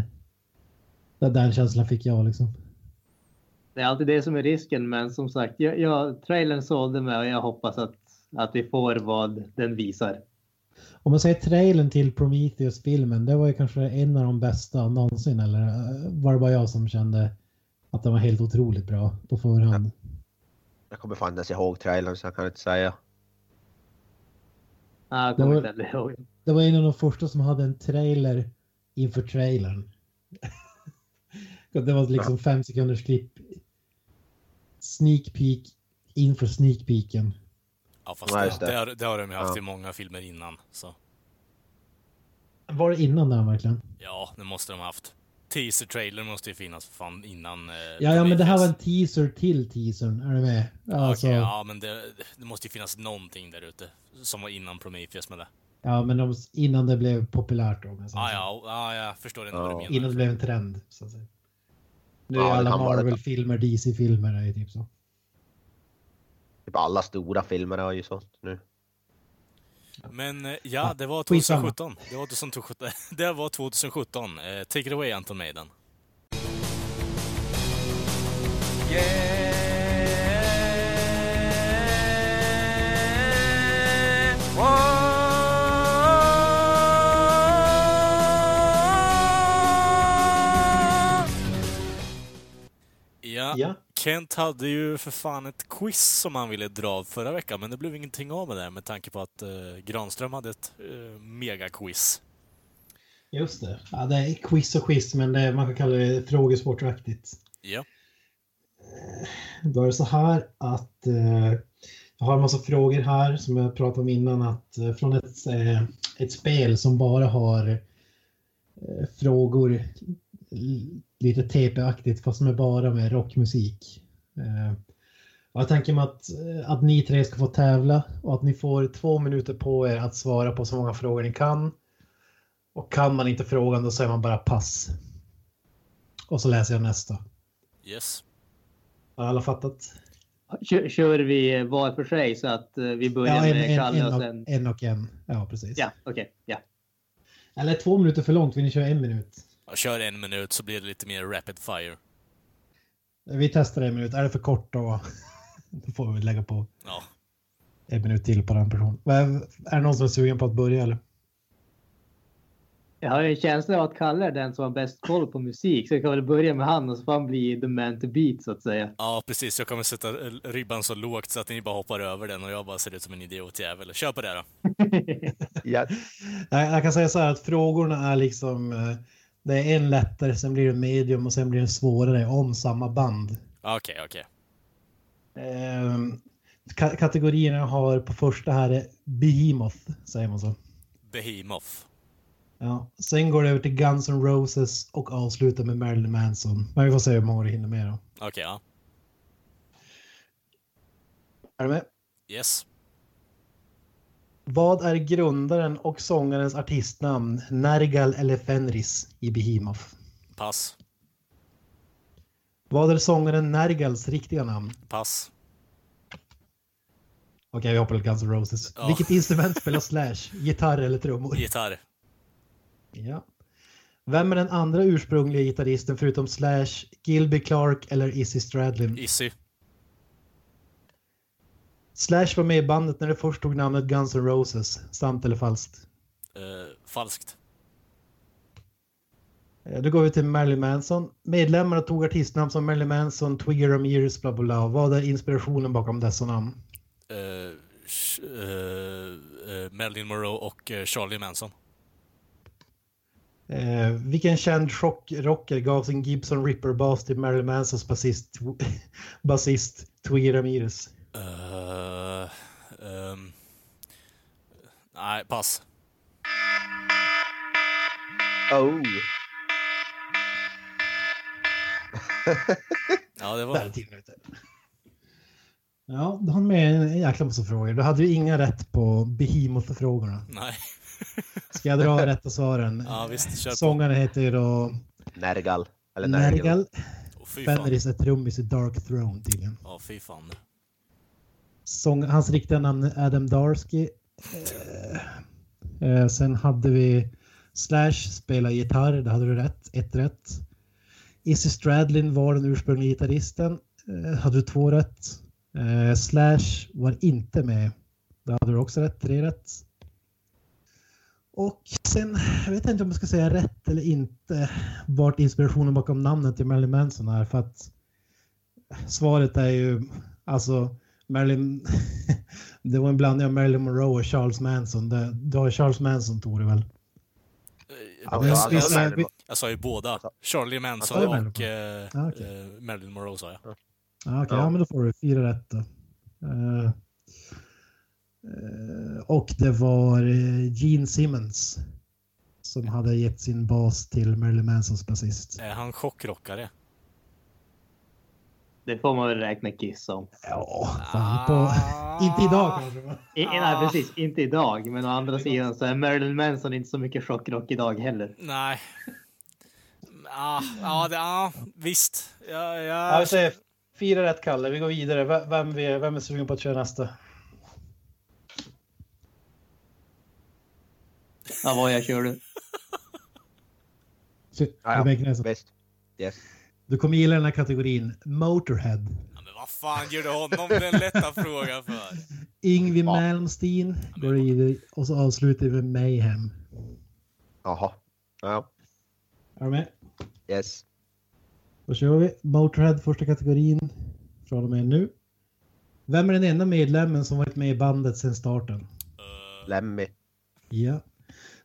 Speaker 3: Den där känslan fick jag liksom.
Speaker 4: Det är alltid det som är risken, men som sagt, jag, jag, trailern sålde mig och jag hoppas att, att vi får vad den visar.
Speaker 3: Om man säger trailern till Prometheus-filmen, det var ju kanske en av de bästa någonsin. Eller eh, var det bara jag som kände att den var helt otroligt bra på förhand?
Speaker 2: Jag kommer fan inte ens ihåg trailern så jag kan inte säga.
Speaker 4: Ah, jag
Speaker 3: Det
Speaker 4: kommer
Speaker 3: var-
Speaker 4: inte heller ihåg.
Speaker 3: Det var en av de första som hade en trailer inför trailern. <laughs> det var liksom fem sekunders klipp. Sneak peek inför sneak peeken.
Speaker 1: Ja, fast
Speaker 2: Ja, just
Speaker 1: det,
Speaker 2: det.
Speaker 1: det, har, det har de ju haft
Speaker 2: Ja.
Speaker 1: i många filmer innan. Så.
Speaker 3: Var det innan den verkligen?
Speaker 1: Ja, det måste de ha haft. Teaser-trailer måste ju finnas för fan innan. Eh,
Speaker 3: Ja, ja, men det här var en
Speaker 1: Prometheus.
Speaker 3: teaser till teasern. Är du med?
Speaker 1: Okej,
Speaker 3: Alltså, ja.
Speaker 1: ja, men det, det måste ju finnas någonting där ute som var innan Prometheus med det.
Speaker 3: men de, innan det blev populärt. Då, om jag säger
Speaker 1: Ah,
Speaker 3: så.
Speaker 1: ja, ah, jag förstår ändå vad du
Speaker 3: Innan det
Speaker 1: menar.
Speaker 3: blev en trend. Så att säga. Nu är
Speaker 2: Ja, det
Speaker 3: alla
Speaker 2: kan vara det.
Speaker 3: Marvel-filmer, DC-filmer är ju typ så.
Speaker 2: Typ alla stora filmer har ju sånt nu.
Speaker 1: Men eh, ja, det var
Speaker 3: Skitsamma.
Speaker 1: 2017. Det var 2017. <laughs> det var 2017. Eh, take it away Anton Maiden. Ja,
Speaker 3: Ja.
Speaker 1: Kent hade ju för fan ett quiz som han ville dra av förra veckan, men det blev ingenting av med det med tanke på att eh, Granström hade ett eh, megaquiz.
Speaker 3: Just det. Ja, det är quiz och quiz, men det, man kan kalla det frågesportaktigt.
Speaker 1: Ja.
Speaker 3: Då är det så här att eh, jag har en massa frågor här som jag pratade om innan. Att, eh, från ett, eh, ett spel som bara har eh, frågor l- lite TP-aktigt fast med bara med rockmusik. Eh, och jag tänker mig att, eh, att ni tre ska få tävla och att ni får två minuter på er att svara på så många frågor ni kan. Och kan man inte frågan då säger man bara pass. Och så läser jag nästa.
Speaker 1: Yes.
Speaker 3: Har alla fattat?
Speaker 4: Kör, kör vi var för sig så att eh, vi börjar
Speaker 3: en,
Speaker 4: med
Speaker 3: en,
Speaker 4: Kalle
Speaker 3: en,
Speaker 4: och
Speaker 3: och,
Speaker 4: sen...
Speaker 3: en och en. Ja, precis.
Speaker 4: Ja, okej. ja.
Speaker 3: Eller två minuter för långt, vill ni köra en minut?
Speaker 1: Jag kör en minut så blir det lite mer rapid fire.
Speaker 3: Vi testar en minut. Är det för kort då? <laughs> Då får vi lägga på
Speaker 1: Ja.
Speaker 3: en minut till på den personen. Vad Är är det någon som är sugen på att börja eller?
Speaker 4: Jag har ju en känsla av att Kalle är den som har bäst koll på musik, så jag kan väl börja med han och så får han bli the man to beat så
Speaker 1: <laughs>
Speaker 4: att säga.
Speaker 1: ja, precis. Jag kommer sätta eh, ribban så lågt så att ni bara hoppar över den och jag bara ser ut som en idiotjävel. Kör på det då.
Speaker 2: Ja,
Speaker 3: Nej, jag kan säga så här att frågorna är liksom... eh, Det är en lättare, sen blir det medium och sen blir det svårare om samma band.
Speaker 1: Ja, Okej, okej.
Speaker 3: Ehm, ka- Kategorierna jag har på första här är Behemoth, säger man så.
Speaker 1: Behemoth.
Speaker 3: Ja, sen går det över till Guns N' Roses och avslutar med Marilyn Manson. Men vi får se hur många det hinner med då.
Speaker 1: Okej, ja.
Speaker 3: Är du med?
Speaker 1: Yes.
Speaker 3: Vad är grundaren och sångarens artistnamn Nergal eller Fenris i Behemoth?
Speaker 1: Pass.
Speaker 3: Vad är sångaren Nergals riktiga namn?
Speaker 1: Pass.
Speaker 3: Okej, vi hoppar till Guns N' Roses.
Speaker 1: Ja.
Speaker 3: Vilket instrument spelar Slash? Gitarr eller trummor?
Speaker 1: Gitarr.
Speaker 3: Ja. Vem är den andra ursprungliga gitarristen förutom Slash, Gilby Clark eller Izzy Stradlin?
Speaker 1: Issy.
Speaker 3: Slash var med i bandet när det först tog namnet Guns N' Roses. Sant eller falskt?
Speaker 1: Eh, falskt.
Speaker 3: Eh, Då går vi till Marilyn Manson. Medlemmarna tog artistnamn som Marilyn Manson, Twiggy Ramirez, bla bla bla. Vad är inspirationen bakom dessa namn?
Speaker 1: Eh, sh- eh, eh, Marilyn Monroe och eh, Charlie Manson.
Speaker 3: Eh, vilken känd chock- rocker gav sin Gibson Ripper-bas till Marilyn Mansons basist, <laughs> basist Twiggy Ramirez?
Speaker 1: Eh, ehm. nej, pass.
Speaker 2: Oh.
Speaker 1: Ja, det var...
Speaker 3: Där är tio minuter. Ja, du hann med en jäkla massa frågor. Du hade ju inga rätt på Behemoth-frågorna.
Speaker 1: Nej.
Speaker 3: Ska jag
Speaker 1: <laughs>
Speaker 3: dra rätta svaren?
Speaker 1: Ja, visst. Kör på.
Speaker 3: Sångaren heter ju då
Speaker 2: Nergal. Eller Nergal.
Speaker 3: Nergal.
Speaker 1: Åh, fy fan.
Speaker 3: Fenris är trummis i Dark Throne tydligen.
Speaker 1: Ja, fy fan.
Speaker 3: Sång, hans riktiga namn är Adam Darsky. Eh, eh, sen hade vi Slash spela gitarr, det hade du rätt, ett rätt. Izzy Stradlin var den ursprungliga gitarristen, eh, hade du två rätt. Eh, Slash var inte med, det hade du också rätt, tre rätt. Och sen, jag vet inte om jag ska säga rätt eller inte, vart inspirationen bakom namnet till Marilyn Manson är för att svaret är ju, alltså Marilyn, <laughs> det var en blandning av Marilyn Monroe och Charles Manson. Det, du har Charles Manson Tore väl?
Speaker 2: Ja, alltså,
Speaker 1: Eh,
Speaker 2: men jag
Speaker 3: Visst-
Speaker 2: hade-
Speaker 3: visst-
Speaker 2: jag hade-
Speaker 1: Jag sa ju båda. Charlie Manson
Speaker 3: sa ju
Speaker 1: och eh,
Speaker 3: Ja, okej.
Speaker 1: eh, Marilyn Monroe sa jag.
Speaker 3: Ja, okej,
Speaker 2: Ja.
Speaker 3: ja, men då får du fyra rätt då. Eh, eh, och det var eh, Gene Simmons som hade gett sin bas till Marilyn Mansons basist.
Speaker 1: Är Eh, han chockrockare?
Speaker 4: Det får man väl räkna Kiss som.
Speaker 3: Ja, fan på... <laughs> Inte idag kanske. va?
Speaker 4: I, Nej, precis. Inte idag. Men å andra sidan så är Marilyn Manson inte så mycket chockrock idag heller.
Speaker 1: Nej. Ah, ja, det, ah, visst. Ja,
Speaker 3: Ja,
Speaker 1: ja.
Speaker 3: vi säger fyra rätt Kalle, vi går vidare. V- Vem, vi, vem är sugen på att köra nästa?
Speaker 4: Ja, vad jag kör du?
Speaker 2: Ja,
Speaker 3: Du,
Speaker 2: ja.
Speaker 3: Mäknes,
Speaker 2: Visst. Yes.
Speaker 3: du kommer gilla den här kategorin. Motorhead.
Speaker 1: Ja, men vad fan gör du honom den lätta frågan för?
Speaker 3: Yngwie
Speaker 2: Ja.
Speaker 3: Malmsteen går vidare och så avslutar vi med Mayhem.
Speaker 2: Jaha. Ja.
Speaker 3: Är du med?
Speaker 2: Yes.
Speaker 3: Då kör vi. Motorhead, första kategorin. Från och med nu. Vem är den enda medlemmen som varit med i bandet sedan starten?
Speaker 2: Lemmy.
Speaker 3: Ja.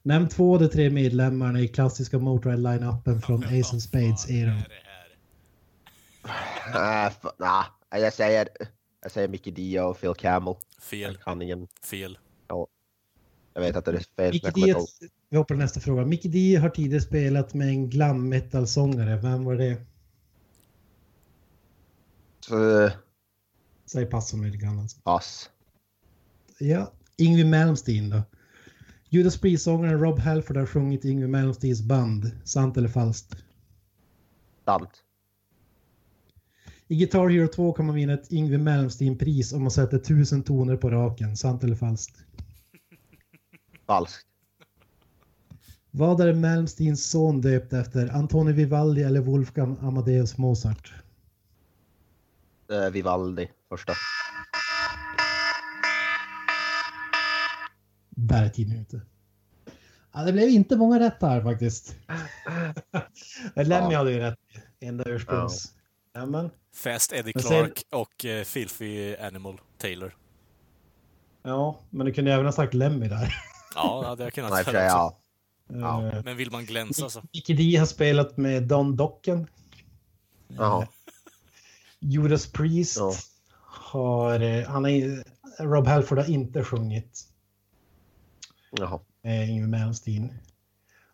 Speaker 3: Nämn två av de tre medlemmarna i klassiska Motorhead-line-upen från Ace of Spades-eran.
Speaker 1: Det här.
Speaker 2: Äh, f- nah. Jag säger... Jag säger Mickey Dio och Phil Campbell.
Speaker 1: Fel,
Speaker 2: Jag kan ingen...
Speaker 1: fel.
Speaker 2: Jag vet att det är fel. men
Speaker 3: Mickey
Speaker 2: jag kommer
Speaker 3: Dio,
Speaker 2: inte ihåg.
Speaker 3: vi hoppar till nästa fråga. Mickey Dio har tidigare spelat med en glam metal-sångare. Vem var det?
Speaker 2: Så,
Speaker 3: Säg pass om lite grann. Alltså.
Speaker 2: Pass.
Speaker 3: Ja, Yngwie Malmsteen då. Judas Priest-sångaren Rob Halford har sjungit i Yngwie Malmsteens band. Sant eller falskt?
Speaker 2: Sant.
Speaker 3: I Guitar Hero 2 kan man vinna ett Yngwie Malmsteen-pris om man sätter tusen toner på raken. Sant eller falskt?
Speaker 2: Falskt.
Speaker 3: Vad är Malmsteens son döpt efter? Antoni Vivaldi eller Wolfgang Amadeus Mozart?
Speaker 2: Eh, Vivaldi. Första.
Speaker 3: Där är tiden ute. Ja, det blev inte många rätt här <laughs> faktiskt. Lemmy
Speaker 2: Ja.
Speaker 3: hade ju rätt. Enda ursprungs. Ja. men.
Speaker 1: Fast Eddie
Speaker 3: Men sen-
Speaker 1: Clark och eh, Filthy Animal Taylor.
Speaker 3: ja, men du kunde även ha sagt Lemmy där. Eh,
Speaker 1: Ja, det hade jag kunnat
Speaker 2: Nej, i och för
Speaker 1: säga
Speaker 2: sig,
Speaker 1: också.
Speaker 2: ja.
Speaker 3: Ja.
Speaker 2: Ja.
Speaker 1: Men vill man glänsa så.
Speaker 3: Mickey D har spelat med Don Docken.
Speaker 2: Jaha.
Speaker 3: Judas Priest
Speaker 2: Ja.
Speaker 3: har... eh, Han är, Rob Halford har inte sjungit.
Speaker 2: Jaha.
Speaker 3: eh, Yngwie Malmsteen.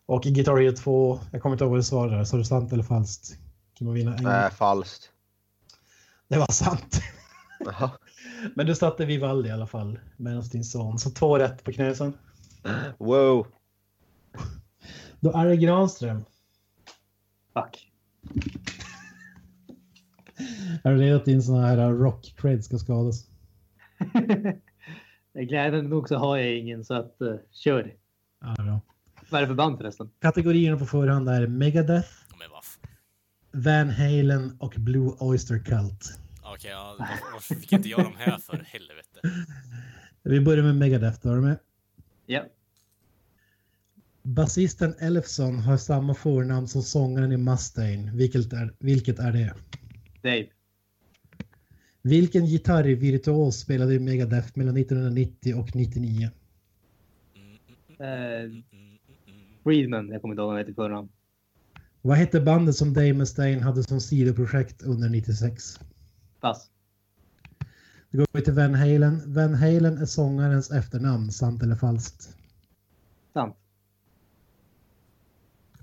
Speaker 3: Och i Guitar Hero 2, jag kommer inte ihåg vad du svarade där, sa du sant eller falskt? Kan man vinna en
Speaker 2: Eh, falskt.
Speaker 3: Det var sant. <laughs>
Speaker 2: Jaha.
Speaker 3: Men du satte Vivaldi i alla fall, Malmsteens son. Så två rätt på knösen.
Speaker 2: Wow.
Speaker 3: Då är det Granström.
Speaker 4: Fuck. <laughs>
Speaker 3: Är du redo att din sån här eh, rock cred ska skadas?
Speaker 4: Glädjande nog så har jag ingen så att eh, kör.
Speaker 3: Ja, det är bra.
Speaker 4: Vad är det för band förresten?
Speaker 3: Kategorierna på förhand är Megadeth,
Speaker 1: Ja, Men vad f-
Speaker 3: Van Halen och Blue Oyster Cult.
Speaker 1: Okej, ja, var- varför fick inte jag de här för? Helvete.
Speaker 3: Vi börjar med Megadeth, då är du med?
Speaker 4: Ja.
Speaker 3: Basisten Elfson har samma förnamn som sångaren i Mustaine. Vilket är, vilket är det?
Speaker 4: Dave.
Speaker 3: Vilken gitarrvirtuos spelade i Megadeth mellan 1990 och 99?
Speaker 1: Mm, mm,
Speaker 4: Eh,
Speaker 1: mm, mm, mm.
Speaker 4: Friedman. Jag kommer inte ihåg vad han heter i förnamn.
Speaker 3: Vad hette bandet som Dave Mustaine hade som sidoprojekt under 96?
Speaker 4: Pass.
Speaker 3: Det går vi till Van Halen. Van Halen är sångarens efternamn, sant eller falskt?
Speaker 4: Sant.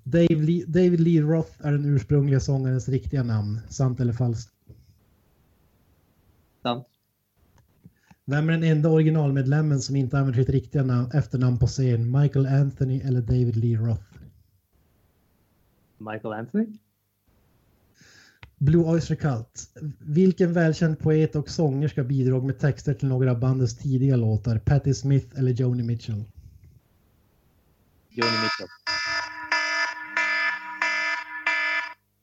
Speaker 3: Dave Lee, David Lee Roth är den ursprungliga sångarens riktiga namn, sant eller falskt?
Speaker 4: sant.
Speaker 3: Vem är den enda originalmedlemmen som inte använder sitt riktiga namn, efternamn på scen? Michael Anthony eller David Lee Roth?
Speaker 4: Michael Anthony?
Speaker 3: Blue Oyster Cult. Vilken välkänd poet och sångerska bidrog med texter till några av bandets tidiga låtar? Patti Smith eller Joni Mitchell?
Speaker 4: Joni Mitchell.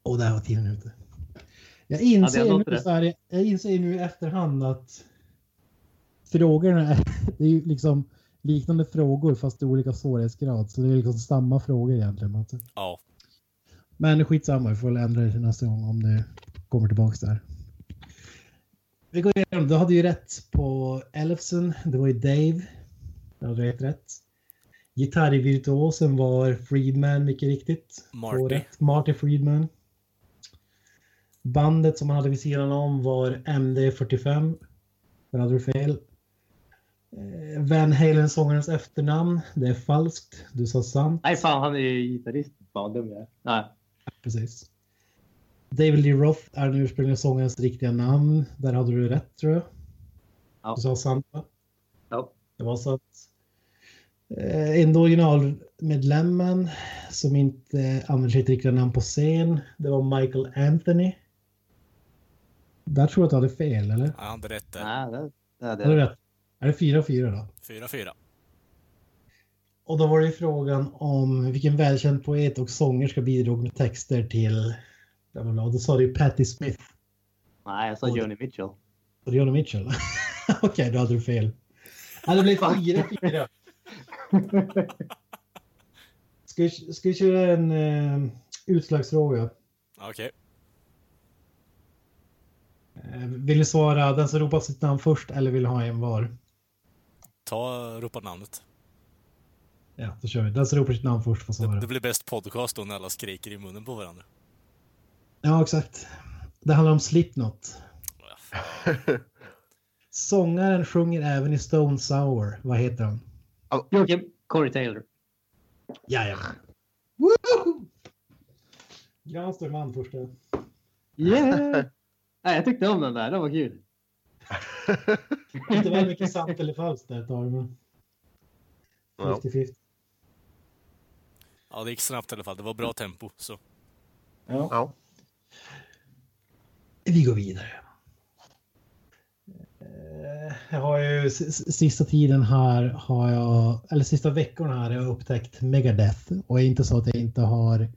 Speaker 3: Och där var tiden ute. Jag
Speaker 4: Ja,
Speaker 3: inser,
Speaker 4: det låter
Speaker 3: nu,
Speaker 4: det.
Speaker 3: så här, jag inser nu i efterhand att frågorna är, det är ju liksom liknande frågor fast i olika svårighetsgrad. Så det är liksom samma frågor egentligen. man-
Speaker 1: Ja.
Speaker 3: Men skitsamma, vi får väl ändra det till nästa gång om det kommer tillbaks där. Vi går igenom. Du hade ju rätt på Elfsen. Det var ju Dave. Du hade helt rätt. Gitarrvirtuosen var Friedman, mycket riktigt.
Speaker 1: Marty.
Speaker 3: Får rätt. Marty Friedman. Bandet som han hade vid sidan om var MD45. Där hade du fel. Eh, Van Halen-sångarens efternamn. Det är falskt. Du sa sant.
Speaker 4: Nej fan, han är ju gitarrist. Fan vad dum jag är. Nej.
Speaker 3: Precis. David Lee Roth är den ursprungliga sångarens riktiga namn. Där hade du rätt tror jag.
Speaker 4: Ja.
Speaker 3: Du sa sant va?
Speaker 4: Ja.
Speaker 3: Det var sant. Eh, Enda originalmedlemmen som inte använder sitt riktiga namn på scen, det var Michael Anthony. Där tror jag att du hade fel eller?
Speaker 1: Han hade rätt där.
Speaker 4: Nej, det, det,
Speaker 3: Hade du
Speaker 4: det.
Speaker 3: rätt? Är det 4-4 då?
Speaker 1: 4-4.
Speaker 3: Och då var det ju frågan om vilken välkänd poet och sångerska bidrog med texter till... bla, bla, bla. Och då sa du ju Patti Smith.
Speaker 4: Nej, jag sa Joni Mitchell.
Speaker 3: Var det Johnny Mitchell? <laughs> Okej, då hade du fel. Ja, det blev fyra, fyra. Ska vi, ska vi köra en eh, utslagsfråga?
Speaker 1: Okej.
Speaker 3: Eh, vill du svara den som ropar sitt namn först eller vill du ha en var?
Speaker 1: Ta ropa namnet.
Speaker 3: Ja, då kör vi. Den som ropar sitt namn först får svara.
Speaker 1: Det, det blir bäst podcast då när alla skriker i munnen på varandra.
Speaker 3: Ja, exakt. Det handlar om Slipknot. Sångaren sjunger även i Stone Sour. Vad heter han?
Speaker 4: Joakim Corey Taylor.
Speaker 3: Jajamän. Granström vann första.
Speaker 4: Yeah! <laughs> Nej, jag tyckte om den där. Den var kul.
Speaker 3: Inte väl mycket sant eller falskt där ett tag. Men
Speaker 2: Ja.
Speaker 3: 50-50.
Speaker 1: Ja, det gick snabbt i alla fall. Det var bra tempo. Så.
Speaker 2: Ja.
Speaker 3: Vi går vidare. Eh, Jag har ju s- s- sista tiden här har jag, eller sista veckorna här har jag upptäckt Megadeth och det är inte så att jag inte har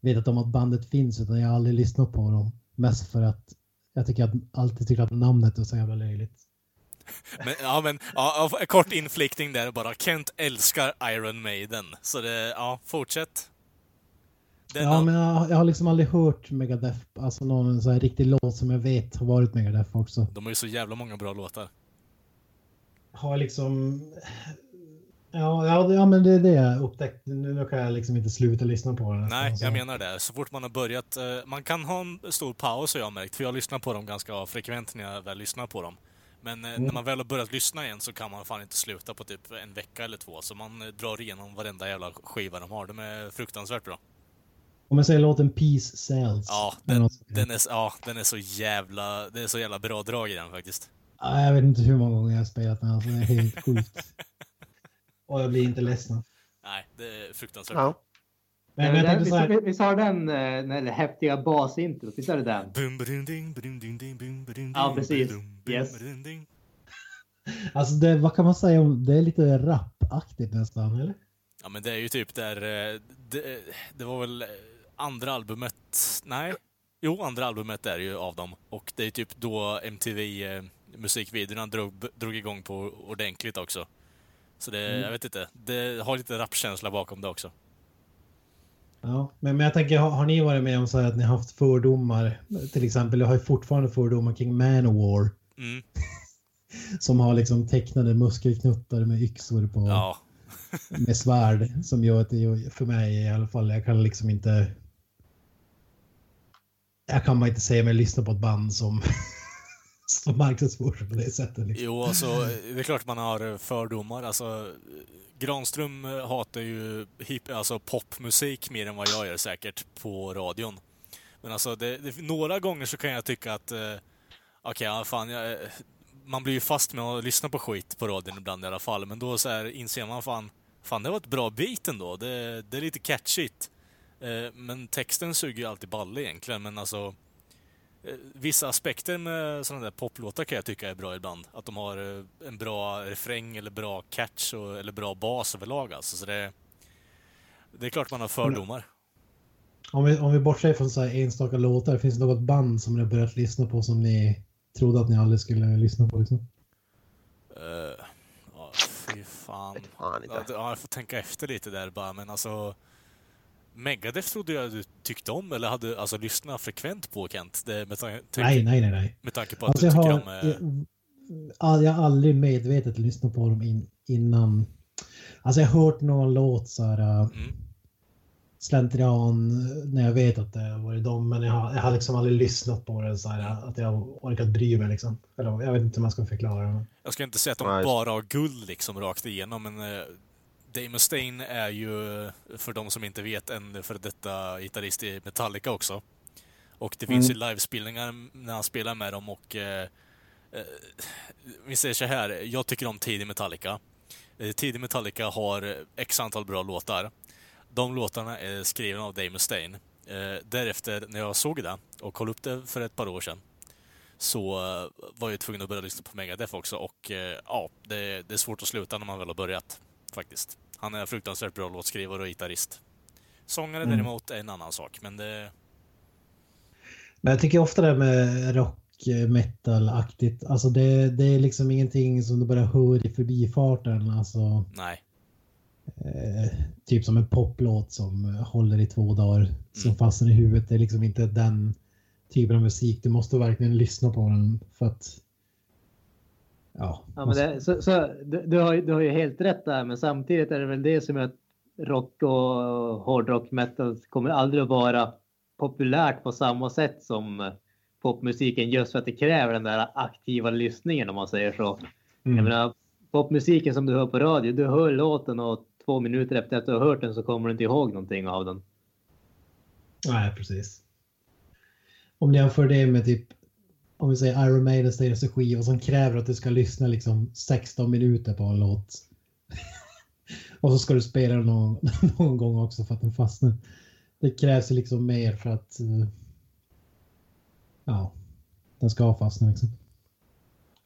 Speaker 3: vetat om att bandet finns utan jag har aldrig lyssnat på dem. Mest för att jag tycker att, alltid tycker att namnet är så jävla löjligt.
Speaker 1: Men, ja, men ja, ja, kort infliktning där bara. Kent älskar Iron Maiden. Så det, ja, fortsätt. Den
Speaker 3: Ja, men jag, jag har liksom aldrig hört Megadeth, alltså någon så här riktig låt som jag vet har varit Megadeth också.
Speaker 1: De har ju så jävla många bra låtar.
Speaker 3: har liksom... Ja, ja, ja men det är det jag upptäckte. Nu nu kan jag liksom inte sluta lyssna på den.
Speaker 1: Nej,
Speaker 3: Alltså,
Speaker 1: jag menar det. Så fort man har börjat... Eh, man kan ha en stor paus har jag märkt, för jag lyssnar på dem ganska frekvent när jag väl lyssnar på dem. Men eh, när man väl har börjat lyssna igen så kan man fan inte sluta på typ en vecka eller två. Så man eh, drar igenom varenda jävla skiva de har. De är fruktansvärt bra.
Speaker 3: Om jag säger låten Peace Sells.
Speaker 1: Ja,
Speaker 3: eller
Speaker 1: den,
Speaker 3: något sånt.
Speaker 1: den, är, s- ja, den är så jävla... Det är så jävla bra drag i den faktiskt.
Speaker 3: Ja, jag vet inte hur många gånger jag har spelat den. Alltså, det är helt sjukt. Och jag blir inte ledsen.
Speaker 1: Nej, det är fruktansvärt
Speaker 3: <laughs>
Speaker 1: bra.
Speaker 2: ja.
Speaker 3: Men, men jag
Speaker 4: där,
Speaker 3: tänkte så
Speaker 4: visst,
Speaker 3: här.
Speaker 4: vi- visst har den eh, den där häftiga basintrot? Visst är det den?
Speaker 1: Bum, brum, ding, brum, ding, ding, bum, brum, ding,
Speaker 4: Ja, precis.
Speaker 1: brum, brum,
Speaker 4: Yes.
Speaker 1: brum, ding.
Speaker 3: Alltså, det, vad kan man säga om det? är lite rapaktigt nästan, eller?
Speaker 1: Ja men det är ju typ där... eh, Det, det var väl eh, andra albumet... Nej? Jo, andra albumet är ju av dem. Och det är typ då MTV eh, musikvideorna drog, drog igång på ordentligt också. Så det, jag vet inte. Det har lite rapkänsla bakom det också.
Speaker 3: Ja, men, men jag tänker, har, har ni varit med om så här att ni har haft fördomar? Till exempel, jag har ju fortfarande fördomar kring Manowar.
Speaker 1: Mm.
Speaker 3: Som har liksom tecknade muskelknuttar med yxor på.
Speaker 1: Ja.
Speaker 3: med svärd som gör att det för mig i alla fall, jag kan liksom inte... Jag kan bara inte säga mig lyssna på ett band som, <laughs> som marknadsför sig på det sättet. Liksom.
Speaker 1: Jo, alltså det är klart man har fördomar. Alltså, Granström hatar ju hip, alltså popmusik mer än vad jag gör säkert på radion. Men alltså, det, det, några gånger så kan jag tycka att eh, Okej, ja, fan. Jag, man blir ju fast med att lyssna på skit på radion ibland i alla fall, men då så här inser man fan, fan det var ett bra beat ändå. Det, det är lite catchigt. Eh, Men texten suger ju alltid balle egentligen, men alltså eh, Vissa aspekter med sådana där poplåtar kan jag tycka är bra ibland. Att de har eh, en bra refräng eller bra catch och, eller bra bas överlag alltså. Så det, det är klart man har fördomar.
Speaker 3: Om vi, om vi bortser från så här enstaka låtar, finns det något band som ni har börjat lyssna på som ni trodde att ni aldrig skulle lyssna på? Liksom?
Speaker 1: Eh, Ja, fy fan.
Speaker 2: Vet fan inte.
Speaker 1: Ja, det- ja, jag får tänka efter lite där bara, men alltså... Megadeth trodde jag du tyckte om eller hade alltså, lyssnat frekvent på Kent. Det, med, tan-
Speaker 3: Nej, nej, nej. nej.
Speaker 1: med tanke på att
Speaker 3: Alltså,
Speaker 1: du
Speaker 3: jag,
Speaker 1: tycker
Speaker 3: har,
Speaker 1: om... eh,
Speaker 3: jag, jag har aldrig medvetet lyssnat på dem in, innan. Alltså jag har hört någon låt så här eh,
Speaker 1: Mm.
Speaker 3: slentrian eh, när jag vet att det har varit dem, men jag har, jag har liksom aldrig lyssnat på det så här eh, att jag har orkat bry mig liksom. Eller jag vet inte hur man ska förklara det. men-
Speaker 1: Jag ska inte säga att de
Speaker 2: Nej.
Speaker 1: bara har guld liksom rakt igenom, men eh, Dave Mustaine är ju, eh, för de som inte vet, en för detta gitarrist i Metallica också. Och det finns ju livespelningar när han spelar med dem och... Eh, eh, vi säger så här, jag tycker om tidig Metallica. Eh, tidig Metallica har x antal bra låtar. De låtarna är skrivna av Dave Mustaine. Eh, därefter, när jag såg det och kollade upp det för ett par år sedan, så eh, var jag tvungen att börja lyssna på Megadeth också och eh, ja, det, det är svårt att sluta när man väl har börjat faktiskt. Han är fruktansvärt bra låtskrivare och gitarrist. Sångare
Speaker 3: Mm.
Speaker 1: däremot är en annan sak, men det...
Speaker 3: Men jag tycker ofta det här med rock, eh, metal-aktigt, alltså det, det är liksom ingenting som du bara hör i förbifarten. Alltså,
Speaker 1: Nej.
Speaker 3: eh, typ som en poplåt som eh, håller i två dagar, som fastnar i huvudet. Det är liksom inte den typen av musik. Du måste verkligen lyssna på den för att... Ja.
Speaker 4: Ja, men det, så, så, du, du, har, ju- du har ju helt rätt där, men samtidigt är det väl det som gör att rock och hårdrock metal kommer aldrig att vara populärt på samma sätt som popmusiken just för att det kräver den där aktiva lyssningen om man säger så. Jag
Speaker 3: mm.
Speaker 4: menar, popmusiken som du hör på radio, du hör låten och två minuter efter att du har hört den så kommer du inte ihåg någonting av den.
Speaker 3: Nej, precis. Om du jämför det med typ, om vi säger Iron Maidens senaste skiva som kräver att du ska lyssna liksom 16 minuter på en låt. <laughs> Och så ska du spela den någon, <laughs> någon gång också för att den fastnar. Det krävs ju liksom mer för att eh, ja, den ska fastna liksom.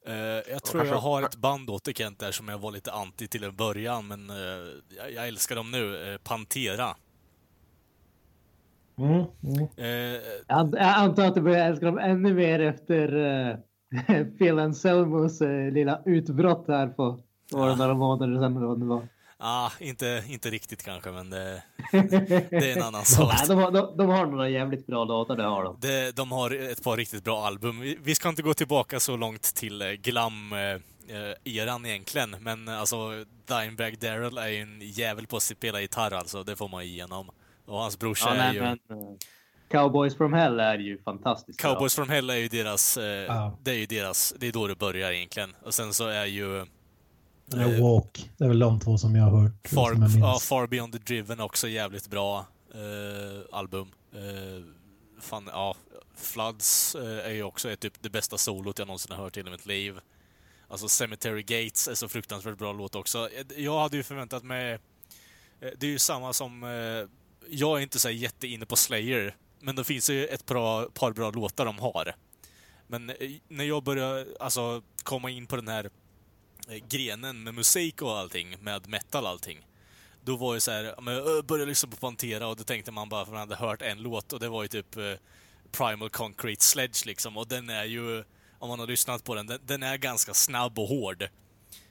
Speaker 1: Eh, jag tror jag har ett band åt dig Kent där som jag var lite anti till en början, men eh, jag, jag älskar dem nu. Eh, Pantera.
Speaker 4: Mm,
Speaker 1: Eh,
Speaker 4: Jag an- jag antar att du börjar älska dem ännu mer efter uh, <laughs> Phil Anselmos eh, lilla utbrott här på det var det några månader sedan eller vad det var.
Speaker 1: ah, inte, inte riktigt kanske, men
Speaker 4: <laughs>
Speaker 1: det, det är en annan sak.
Speaker 4: Nej, de, har, de, de har några jävligt bra låtar, det har de.
Speaker 1: Det, de har ett par riktigt bra album. Vi, vi ska inte gå tillbaka så långt till eh, glam-eran egentligen, men eh, alltså Dimebag Daryl är ju en jävel på att spela gitarr alltså, det får man ju igenom. Och hans brorsa
Speaker 4: Ja,
Speaker 1: är
Speaker 4: nej,
Speaker 1: ju...
Speaker 4: men, eh, Cowboys from Hell är ju fantastiskt bra.
Speaker 1: Cowboys from Hell är ju deras... Eh,
Speaker 3: Ja.
Speaker 1: Det är ju deras... Det är då det börjar egentligen. Och sen så är ju
Speaker 3: Eller Walk, det är väl de två som jag har hört.
Speaker 1: Far,
Speaker 3: som jag minns.
Speaker 1: ja, Far Beyond the Driven också jävligt bra eh, album. Eh, fan, ja. Floods eh, är ju också är typ det bästa solot jag någonsin har hört i hela mitt liv. Alltså Cemetery Gates är så fruktansvärt bra låt också. Eh, Jag hade ju förväntat mig... eh, Det är ju samma som... Eh, jag är inte så här jätteinne på Slayer, men det finns ju ett bra, par bra låtar de har. Men eh, när jag började alltså, komma in på den här eh, grenen med musik och allting, med metal och allting. Då var ju så här, ja, men jag började lyssna på Pantera och då tänkte man bara för man hade hört en låt och det var ju typ eh, Primal Concrete Sledge liksom och den är ju, om man har lyssnat på den, den, den är ganska snabb och hård.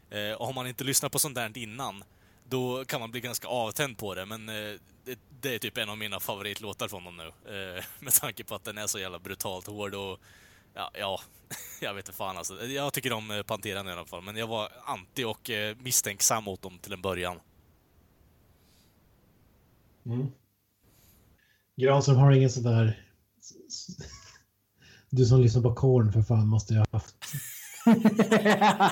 Speaker 1: Eh, och har man inte lyssnat på sånt där innan, då kan man bli ganska avtänd på det men eh, det, det är typ en av mina favoritlåtar från dem nu. Eh, <laughs> med tanke på att den är så jävla brutalt hård och Ja, ja, <laughs> jag vet inte fan alltså. Jag tycker om eh, Pantera nu i alla fall, men jag var anti och eh, misstänksam mot dem till en början.
Speaker 3: Mm. Granström har ingen sån där... <laughs> Du som lyssnar på Korn för fan måste ju ha haft.
Speaker 4: <laughs>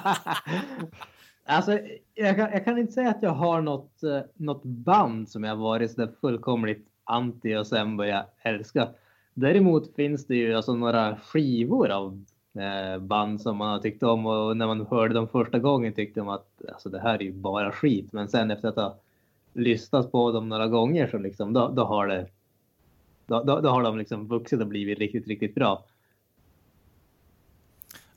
Speaker 4: alltså, jag kan, jag kan inte säga att jag har något, eh, något band som jag varit så där fullkomligt anti och sen börjat älska. Däremot finns det ju alltså några skivor av eh, band som man har tyckt om och när man hörde dem första gången tyckte man att alltså, det här är ju bara skit. Men sen efter att ha lyssnat på dem några gånger så liksom, då, då har det då, då, då har de liksom vuxit och blivit riktigt, riktigt bra.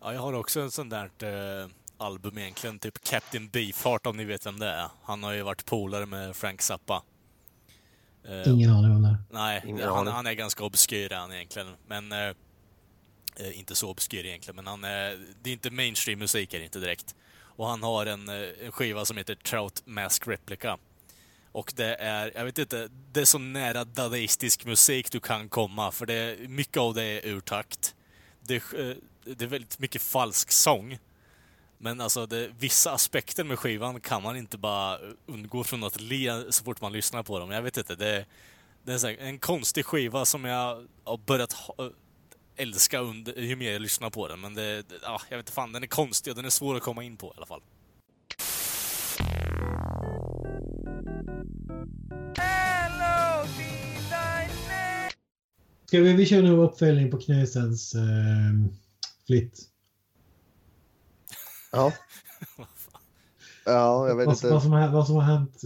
Speaker 1: Ja, jag har också en sån där eh, album egentligen, typ Captain Beefheart om ni vet vem det är. Han har ju varit polare med Frank Zappa. Eh,
Speaker 3: Ingen aning om det här.
Speaker 1: Nej,
Speaker 2: Ingen
Speaker 1: han,
Speaker 2: aning.
Speaker 1: han är ganska obskyr han egentligen. Men... Eh, eh, inte så obskyr egentligen, men han är... Det är inte mainstream musik är det inte direkt. Och han har en, eh, en skiva som heter Trout Mask Replica. Och det är, jag vet inte, det är så nära dadaistisk musik du kan komma, för det är, mycket av det är ur takt. Det, är, eh, det är väldigt mycket falsk sång. Men alltså, det, vissa aspekter med skivan kan man inte bara undgå från att le så fort man lyssnar på dem. Jag vet inte, det är, det är så här, en konstig skiva som jag har börjat ha, älska under, ju mer jag lyssnar på den. Men det, det, ja, jag vet inte fan, den är konstig och den är svår att komma in på i alla fall.
Speaker 3: Ska vi, vi kör nu uppföljning på Knutsens eh, flytt.
Speaker 2: Ja. ja, jag vet
Speaker 3: Vad, som-
Speaker 2: inte.
Speaker 3: vad, som har, vad som har hänt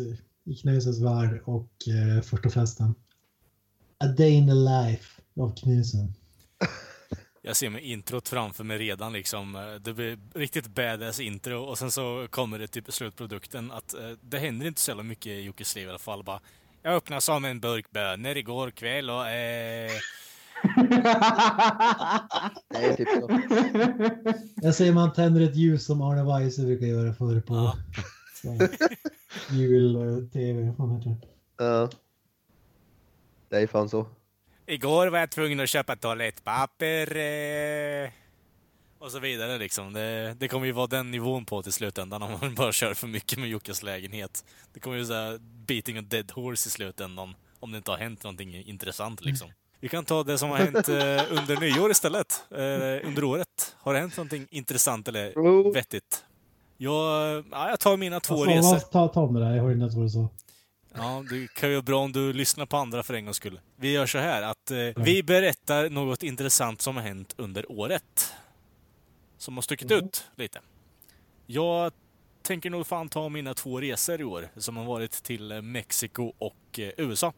Speaker 3: i Knutsens värld och eh, första festen. A day in the life av Knutsen.
Speaker 1: Jag ser med introt framför mig redan liksom. eh, Det blir riktigt badass intro och sen så kommer det typ slutprodukten att eh, det händer inte så jävla mycket i Jockes liv i alla fall. Bara, jag öppnade som en burk bönor igår kväll och eh,
Speaker 2: Det är typ så.
Speaker 3: Jag säger man tänder ett ljus som Arne Weise brukar göra förr på <laughs>
Speaker 1: Ja.
Speaker 3: jul-tv. Vad heter det?
Speaker 2: Ja. Det är fan så.
Speaker 1: Igår var jag tvungen att köpa toalettpapper. Eh, och så vidare liksom. Det, det kommer ju vara den nivån på till slutändan om man <laughs> bara kör för mycket med Jockes lägenhet. Det kommer ju såhär beating a dead horse i slutändan. Om det inte har hänt någonting intressant
Speaker 3: Mm.
Speaker 1: liksom. Vi kan ta det som har hänt eh, under nyår istället. Eh, under året. Har det hänt någonting intressant eller
Speaker 2: Jo.
Speaker 1: vettigt? Jag, ja, jag tar mina två
Speaker 3: Vad
Speaker 1: resor.
Speaker 3: sa- vad- Ta, ta om det där, jag hörde inte ens vad du sa.
Speaker 1: Ja, det kan ju vara bra om du lyssnar på andra för en gångs skull. Vi gör så här att eh, vi berättar något intressant som har hänt under året. Som har stuckit ut lite. Jag tänker nog fan ta mina två resor i år som har varit till eh, Mexiko och eh, USA.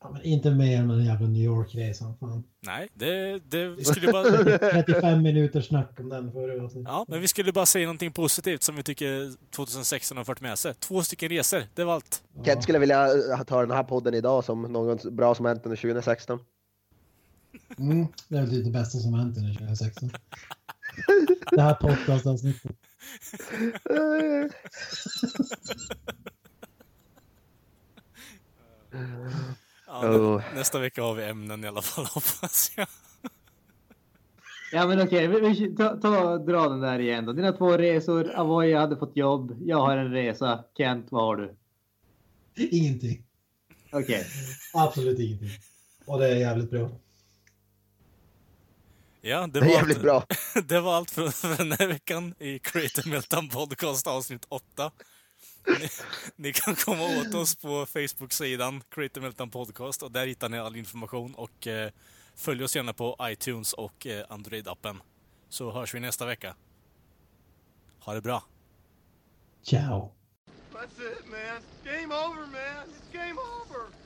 Speaker 3: Ja, men inte mer än den jävla New York-resan. Fan.
Speaker 1: Nej, det, det vi
Speaker 3: <laughs>
Speaker 1: skulle bara...
Speaker 3: 35 minuter snack om den förra avsnittet.
Speaker 1: Ja, men vi skulle bara säga någonting positivt som vi tycker 2016 har fört med sig. Två stycken resor, det var allt.
Speaker 3: Ja.
Speaker 2: Kent skulle vilja eh, ta den här podden idag som något bra som hänt under 2016.
Speaker 3: Mm, det är väl typ det bästa som har hänt under 2016. Det här podcastavsnittet.
Speaker 2: Eh. <laughs>
Speaker 1: Ja,
Speaker 2: Oh.
Speaker 1: Nästa vecka har vi ämnen i alla fall, <laughs> hoppas jag.
Speaker 4: Ja men okej, vi- vi- ta, ta, dra den där igen då. Dina två resor, Avoy hade fått jobb, jag har en resa. Kent, vad har du?
Speaker 3: Ingenting.
Speaker 4: Okej.
Speaker 3: Absolut ingenting. Och det är jävligt bra.
Speaker 1: Ja, det
Speaker 2: Det är
Speaker 1: var
Speaker 2: jävligt
Speaker 1: allt-
Speaker 2: bra.
Speaker 1: <laughs> Det var allt för, för den här veckan i Creator Meltdown Podcast avsnitt 8. Ni, ni kan komma åt oss på Facebook-sidan Creator Meltdown Podcast och där hittar ni all information och eh, följ oss gärna på iTunes och eh, Android-appen. Så hörs vi nästa vecka. Ha det bra.
Speaker 3: Ciao.
Speaker 5: That's it, man. Game over, man. It's game over.